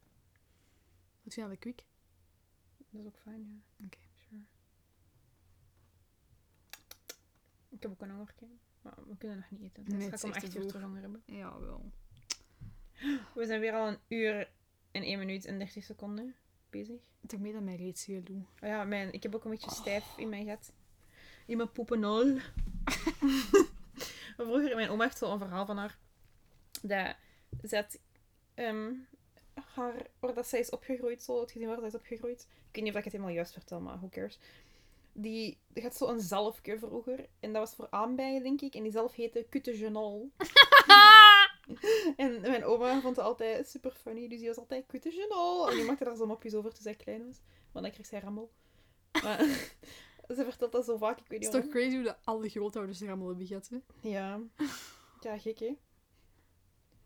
Wat vind je aan de kwik?
Dat is ook fijn, ja.
Oké.
Sure. Ik heb ook een hongerke. Maar we kunnen nog niet eten. Dus
Nee,
ga
het
ik om
is echt
echt
te
uur
vroeg.
terug honger hebben.
Ja, wel.
We zijn weer al een uur en 1 minuut en 30 seconden bezig.
Daarmee dat mij reeds heel doe.
Oh ja, mijn, ik heb ook een
Oh.
beetje stijf in mijn gat. In mijn poepenol. Maar Vroeger, mijn oma heeft zo'n verhaal van haar. Dat zet ehm, haar, waar dat zij is opgegroeid, zo, het gezin waar zij is opgegroeid. Ik weet niet of ik het helemaal juist vertel, maar who cares. Die, die had zo'n zalfje vroeger. En dat was voor aanbijen, denk ik. En die zelf heette Cutegenol. en mijn oma vond het altijd super funny. Dus die was altijd Cutegenol. En die maakte daar zo'n mopjes over toen zij klein was. Want dan kreeg zij rammel. Maar ze vertelt dat zo vaak, ik weet
Het
niet waarom.
is toch crazy hoe dat alle grootouders er allemaal hebben gehad, hè?
Ja. Ja, gek, hè?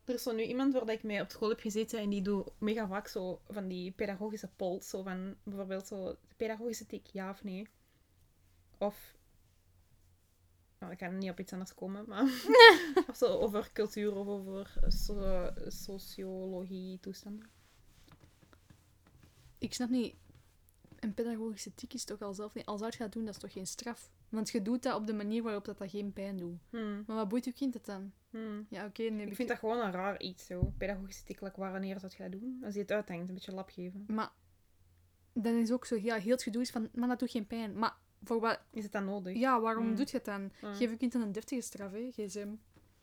Er is zo nu iemand waar dat ik mee op school heb gezeten en die doet mega vaak zo van die pedagogische polls. Zo van bijvoorbeeld zo de pedagogische tik, ja of nee. Of... Nou, ik kan niet op iets anders komen, maar... of zo over cultuur of over so- sociologie toestanden.
Ik snap niet. Een pedagogische tik is toch al zelf niet. Als dat gaat doen, dat is toch geen straf? Want je doet dat op de manier waarop dat, dat geen pijn doet.
Hmm,
Maar wat boeit je kind het dan?
hmm.
Ja, oké, nee.
Ik vind dat gewoon een raar iets, zo. Pedagogische tik, like, wanneer zou je dat doen? Als je het uithangt, een beetje lap geven.
Maar dan is ook zo, ja, heel het gedoe is van, maar dat doet geen pijn. Maar voor wat,
Is het dan nodig?
ja, waarom
Mm.
doet je het dan?
Mm.
Geef je kind dan een deftige straf, hè, gsm.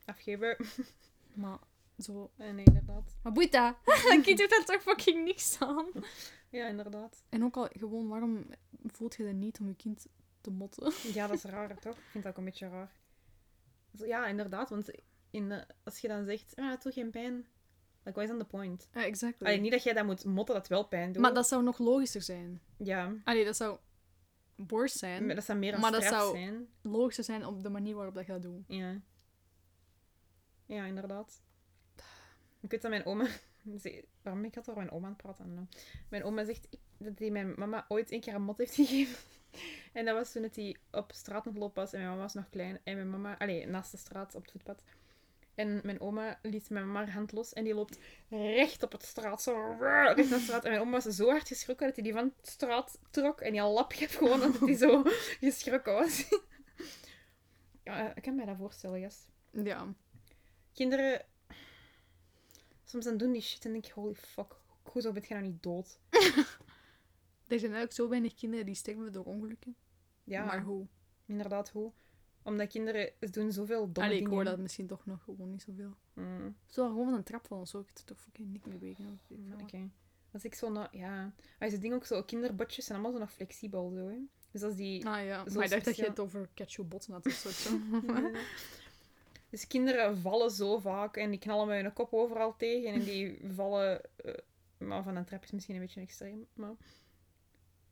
Afgeven?
Maar zo.
Eh, Nee, inderdaad.
Maar boeit dat?
Een kind doet daar toch fucking niks aan.
Ja, inderdaad.
En ook al gewoon, waarom voelt je dat niet om je kind te motten?
Ja, dat is raar, toch? Ik vind dat ook een beetje raar. Zo, Ja, inderdaad, want in, eh, als je dan zegt, ah, het doet geen pijn. Like, what is on the point?
Ja, exact.
Allee, niet dat jij dat moet motten dat wel pijn doet.
Maar dat zou nog logischer zijn.
Ja,
Allee, dat zou worse zijn.
maar dat zou meer een
Maar dat
straf
zou-
zijn.
Logischer zijn op de manier waarop dat gaat doen.
Ja. Ja, inderdaad. Ik weet dat mijn oma... ze- Waarom ben ik altijd over mijn oma aan het praten? I don't know. Mijn oma zegt dat die mijn mama ooit een keer een mot heeft gegeven. En dat was toen dat hij op straat aan het lopen was. En mijn mama was nog klein. En mijn mama... Allee, naast de straat, op het voetpad. En mijn oma liet mijn mama haar hand los. En die loopt recht op het straat. Zo rrr, recht naar de straat. En mijn oma was zo hard geschrokken dat hij die van de straat trok. En die al lap gaf gewoon omdat hij zo geschrokken was. Ja, ik kan mij dat voorstellen, yes.
Ja.
Kinderen... Soms dan doen die shit en denk ik, holy fuck, hoezo ben je nou niet dood?
Er zijn eigenlijk zo weinig kinderen die sterven door ongelukken.
Ja,
Maar hoe?
inderdaad, hoe? Omdat kinderen ze doen zoveel domme
Allee, ik
dingen.
hoor dat misschien toch nog gewoon niet zoveel.
Mm,
Zo gewoon van een trap van ons ook. Het is toch fucking niks meer wegen.
oké. Als ik zo... na- ja... Als je ding ook zo... Kinderbotjes zijn allemaal zo nog flexibel, zo, hè. Dus als die...
Ah ja,
Zo
maar ik dacht dat je
speciaal.
het over ketchup botten had of zo. zo.
dus kinderen vallen zo vaak en die knallen met hun kop overal tegen en die vallen... eh, maar van een trap is misschien een beetje extreem, maar...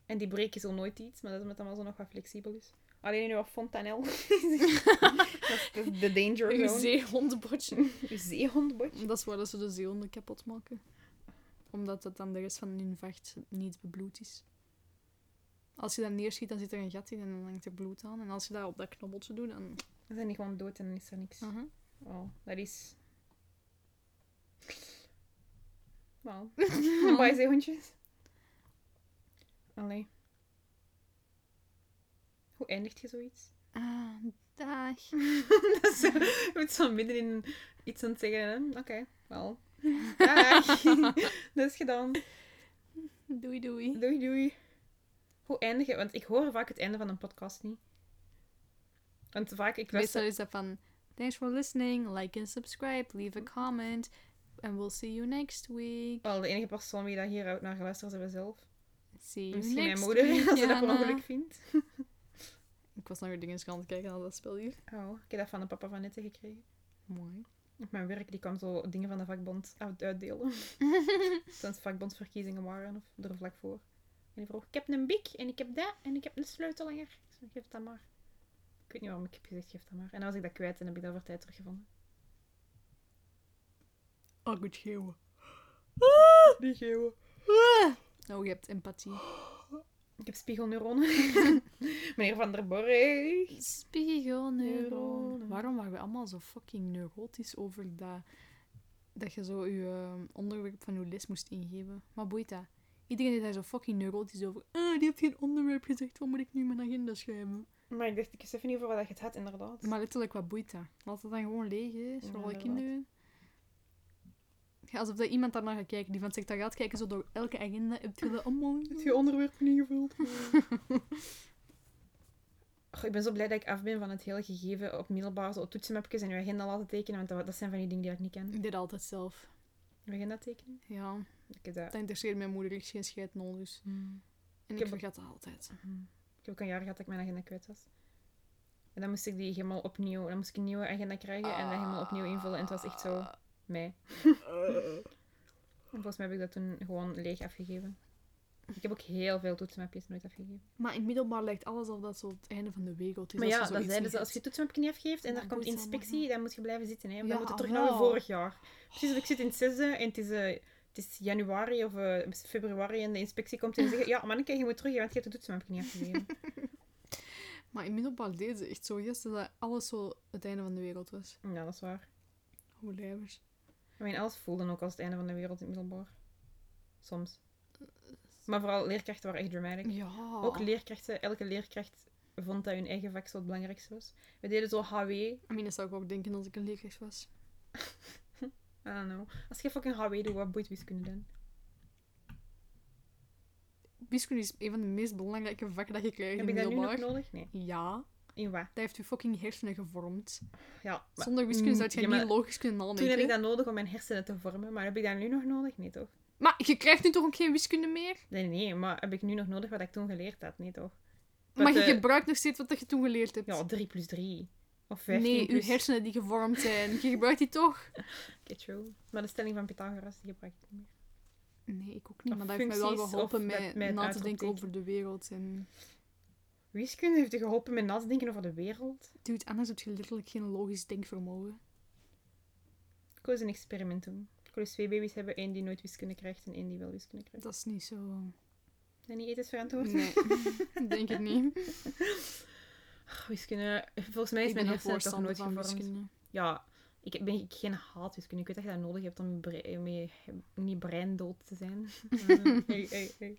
En die breken zo nooit iets, maar dat is omdat dat allemaal zo nog wat flexibel is. Alleen in uw fontanel. dat, is, dat is de danger
Uw
zone.
zeehondenbotje.
Uw zeehondbotje.
dat is waar dat ze de zeehonden kapot maken. Omdat dat dan de rest van hun vacht niet bebloed is. Als je dat neerschiet, dan zit er een gat in en dan hangt er bloed aan. En als je dat op dat knobbeltje doet, dan...
Dan zijn die gewoon dood en dan is er niks.
Aha.
Oh, dat is... Wauw. Wow. Baizeehondjes. Allee. Hoe eindigt je zoiets?
Ah, dag.
dat is zo, je moet zo midden in iets aan het zeggen. hè. Oké, wel. Dag. dat is gedaan.
Doei, doei.
Doei, doei. Hoe eindig je? Want ik hoor vaak het einde van een podcast niet. Want vaak, ik luister...
Meestal is dat van... Thanks for listening. Like and subscribe. Leave a comment. And we'll see you next week.
Wel, de enige persoon die daar hieruit naar luistert, zijn we zelf.
See you
Misschien
next
mijn moeder,
week,
als ze dat per
Jana.
ongeluk vindt.
Ik was naar weer dingen aan het kijken aan dat spel hier.
Oh, ik heb dat van de papa van Nette gekregen.
Mooi.
Op mijn werk, die kwam zo dingen van de vakbond uit- uitdelen. Sinds vakbondsverkiezingen waren, of er vlak voor. En die vroeg, ik heb een bik, en ik heb dat, en ik heb een sleutelanger. Ik zei, geef dat maar. Ik weet niet waarom ik heb gezegd, geef dat maar. En dan was ik dat kwijt en heb ik dat voor tijd teruggevonden.
Oh, goed geeuwen.
Die geeuwen.
Oh, je hebt empathie.
Ik heb spiegelneuronen. Meneer Van der Borg. Neuronen.
Spiegelneuronen. Waarom waren we allemaal zo fucking neurotisch over dat, dat je zo je eh, onderwerp van je les moest ingeven? Maar boeit dat? Iedereen is daar zo fucking neurotisch over. Ah, die heeft geen onderwerp gezegd, wat moet ik nu in mijn agenda schrijven?
Maar ik dacht, ik wist even niet over wat je het had, inderdaad.
Maar letterlijk, wat boeit dat? Laat het dan gewoon leeg, hè? Is
Ja,
voor alle
inderdaad.
kinderen. Ja, alsof dat iemand daarnaar gaat kijken, die van het secretariaat kijken, zo door elke agenda. Heb je dat allemaal?
Heb je onderwerp niet gevuld? Goh, ik ben zo blij dat ik af ben van het hele gegeven op middelbaar zo toetsenmapjes en je agenda laten tekenen, want dat, dat zijn van die dingen die ik niet ken.
Ik deed altijd zelf.
Je agenda tekenen?
Ja,
Ik heb dat...
dat interesseert mijn moeder echt geen scheid nul, dus. En
Hmm. heb-
ik vergat dat altijd.
Ik heb ook een jaar gehad dat ik mijn agenda kwijt was. En dan moest ik die helemaal opnieuw... Dan moest ik een nieuwe agenda krijgen en dat helemaal opnieuw invullen. En het was echt zo... Mij. En volgens mij heb ik dat toen gewoon leeg afgegeven. Ik heb ook heel veel toetsenmapjes nooit afgegeven.
Maar in het middelbaar lijkt alles alsof dat zo het einde van de wereld is.
maar ja,
Dus als je
dat
zoiets
zeiden ze.
niet
Als je
hebt.
toetsenmapje niet afgeeft en
Dat
daar komt
boeit allemaal
inspectie, dan moet je blijven zitten. Hè? Want Dan
Ja,
moet het terug naar
wel.
vorig jaar. Precies, want ik zit in het zesde en het is, eh, het is januari of eh, februari en de inspectie komt en zegt... Ja, manneke, je moet terug, want je hebt de toetsenmapje niet afgegeven.
Maar in het middelbaar deden ze echt zo gisteren dat alles zo het einde van de wereld was.
ja, dat is waar.
Hoe lijvers.
Ik meen, alles voelde ook als het einde van de wereld in het middelbaar. Soms. Maar vooral leerkrachten waren echt dramatic.
Ja.
Ook leerkrachten, elke leerkracht vond dat hun eigen vak zo het belangrijkste was. We deden zo HW. I
I mean, dat zou ik ook denken als ik een leerkracht was.
don't know. Als je fucking HW doet, wat boeit wiskunde dan?
Wiskunde is een van de meest belangrijke vakken dat je krijgt
Heb
in
ik
het
dat nu nog
middelbaar.
nodig? Nee.
Ja,
In wat?
dat heeft je fucking hersenen gevormd.
Ja, maar Mm,
Zonder wiskunde zou je
ja, maar
niet logisch kunnen
toen heb
nadenken.
ik dat nodig om mijn hersenen te vormen, maar heb ik dat nu nog nodig? Nee, toch?
Maar je krijgt nu toch ook geen wiskunde meer?
Nee, nee, maar heb ik nu nog nodig wat ik toen geleerd had? Nee, toch?
maar je
eh,
gebruikt nog steeds wat dat je toen geleerd hebt.
Ja, 3 plus 3. Of 15
nee, je
plus...
hersenen die gevormd zijn. Je gebruikt die toch?
Oké, true. Maar de stelling van Pythagoras, die gebruik ik niet meer.
Nee, ik ook niet.
Of
Maar dat heeft mij wel
functies, of
geholpen
met-
met,
met het
na te denken
uitroepteken.
over de wereld. En...
Wiskunde heeft je geholpen met na te denken over de wereld.
Dude, anders heb je letterlijk geen logisch denkvermogen.
Ik wil eens een experiment doen. Ik wil eens twee baby's hebben. één die nooit wiskunde krijgt en één die wel wiskunde krijgt.
Dat is niet zo...
En niet ethisch verantwoord.
Nee, denk ik niet.
Ach, wiskunde... Volgens mij is
ik
mijn
ben een
hersenen toch
voorstander
nooit
van
gevormd.
wiskunde.
Ja, ik ben ik- geen haat wiskunde. Ik weet dat je dat nodig hebt om bre mee, niet breindood te zijn. Eh, hey, hey, hey.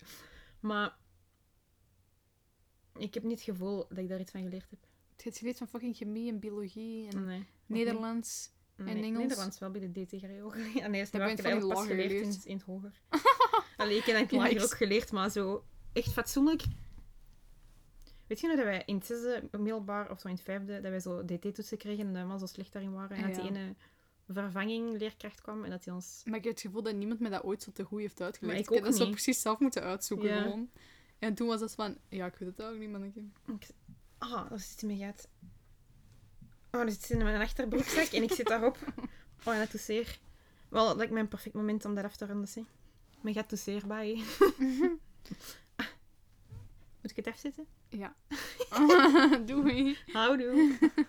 Maar... Ik heb niet het gevoel dat ik daar iets van geleerd heb.
Je hebt geleerd van fucking chemie en biologie en
Nee.
Nederlands.
Nee,
En Engels?
Nederlands wel bij de DT-GRO. Ah, nee, dat is niet
Heb
waar.
je
Ik
het
heb
van je
eigenlijk pas
lager
geleerd in,
geleerd?
in het hoger. Allee, ik heb het
Ja,
lager
ik-
ook geleerd, maar zo echt fatsoenlijk. Weet je nog dat wij in het zesde middelbaar, of zo in het vijfde, dat wij zo DT-toetsen kregen en dat we allemaal zo slecht daarin waren. En dat
Ah, Ja.
die ene vervanging leerkracht kwam en dat die ons...
Maar ik heb het gevoel dat niemand mij dat ooit zo te goed heeft uitgelegd.
Maar ik
heb
ook
dat zo
niet.
precies zelf moeten uitzoeken
Ja.
gewoon. En toen was dat van... Ja, ik weet het ook niet, mannetje.
Ik- Ah, daar zit hij mee gaat. Oh, er zit iets in mijn achterbroekzak en ik zit daarop. Oh, en dat doet zeer. Wel, dat lijkt mij een perfect moment om dat af te ronden, zeg. Mijn gat doet zeer, bye. Ah. Moet ik het afzetten?
Ja. Doei.
Houdoe.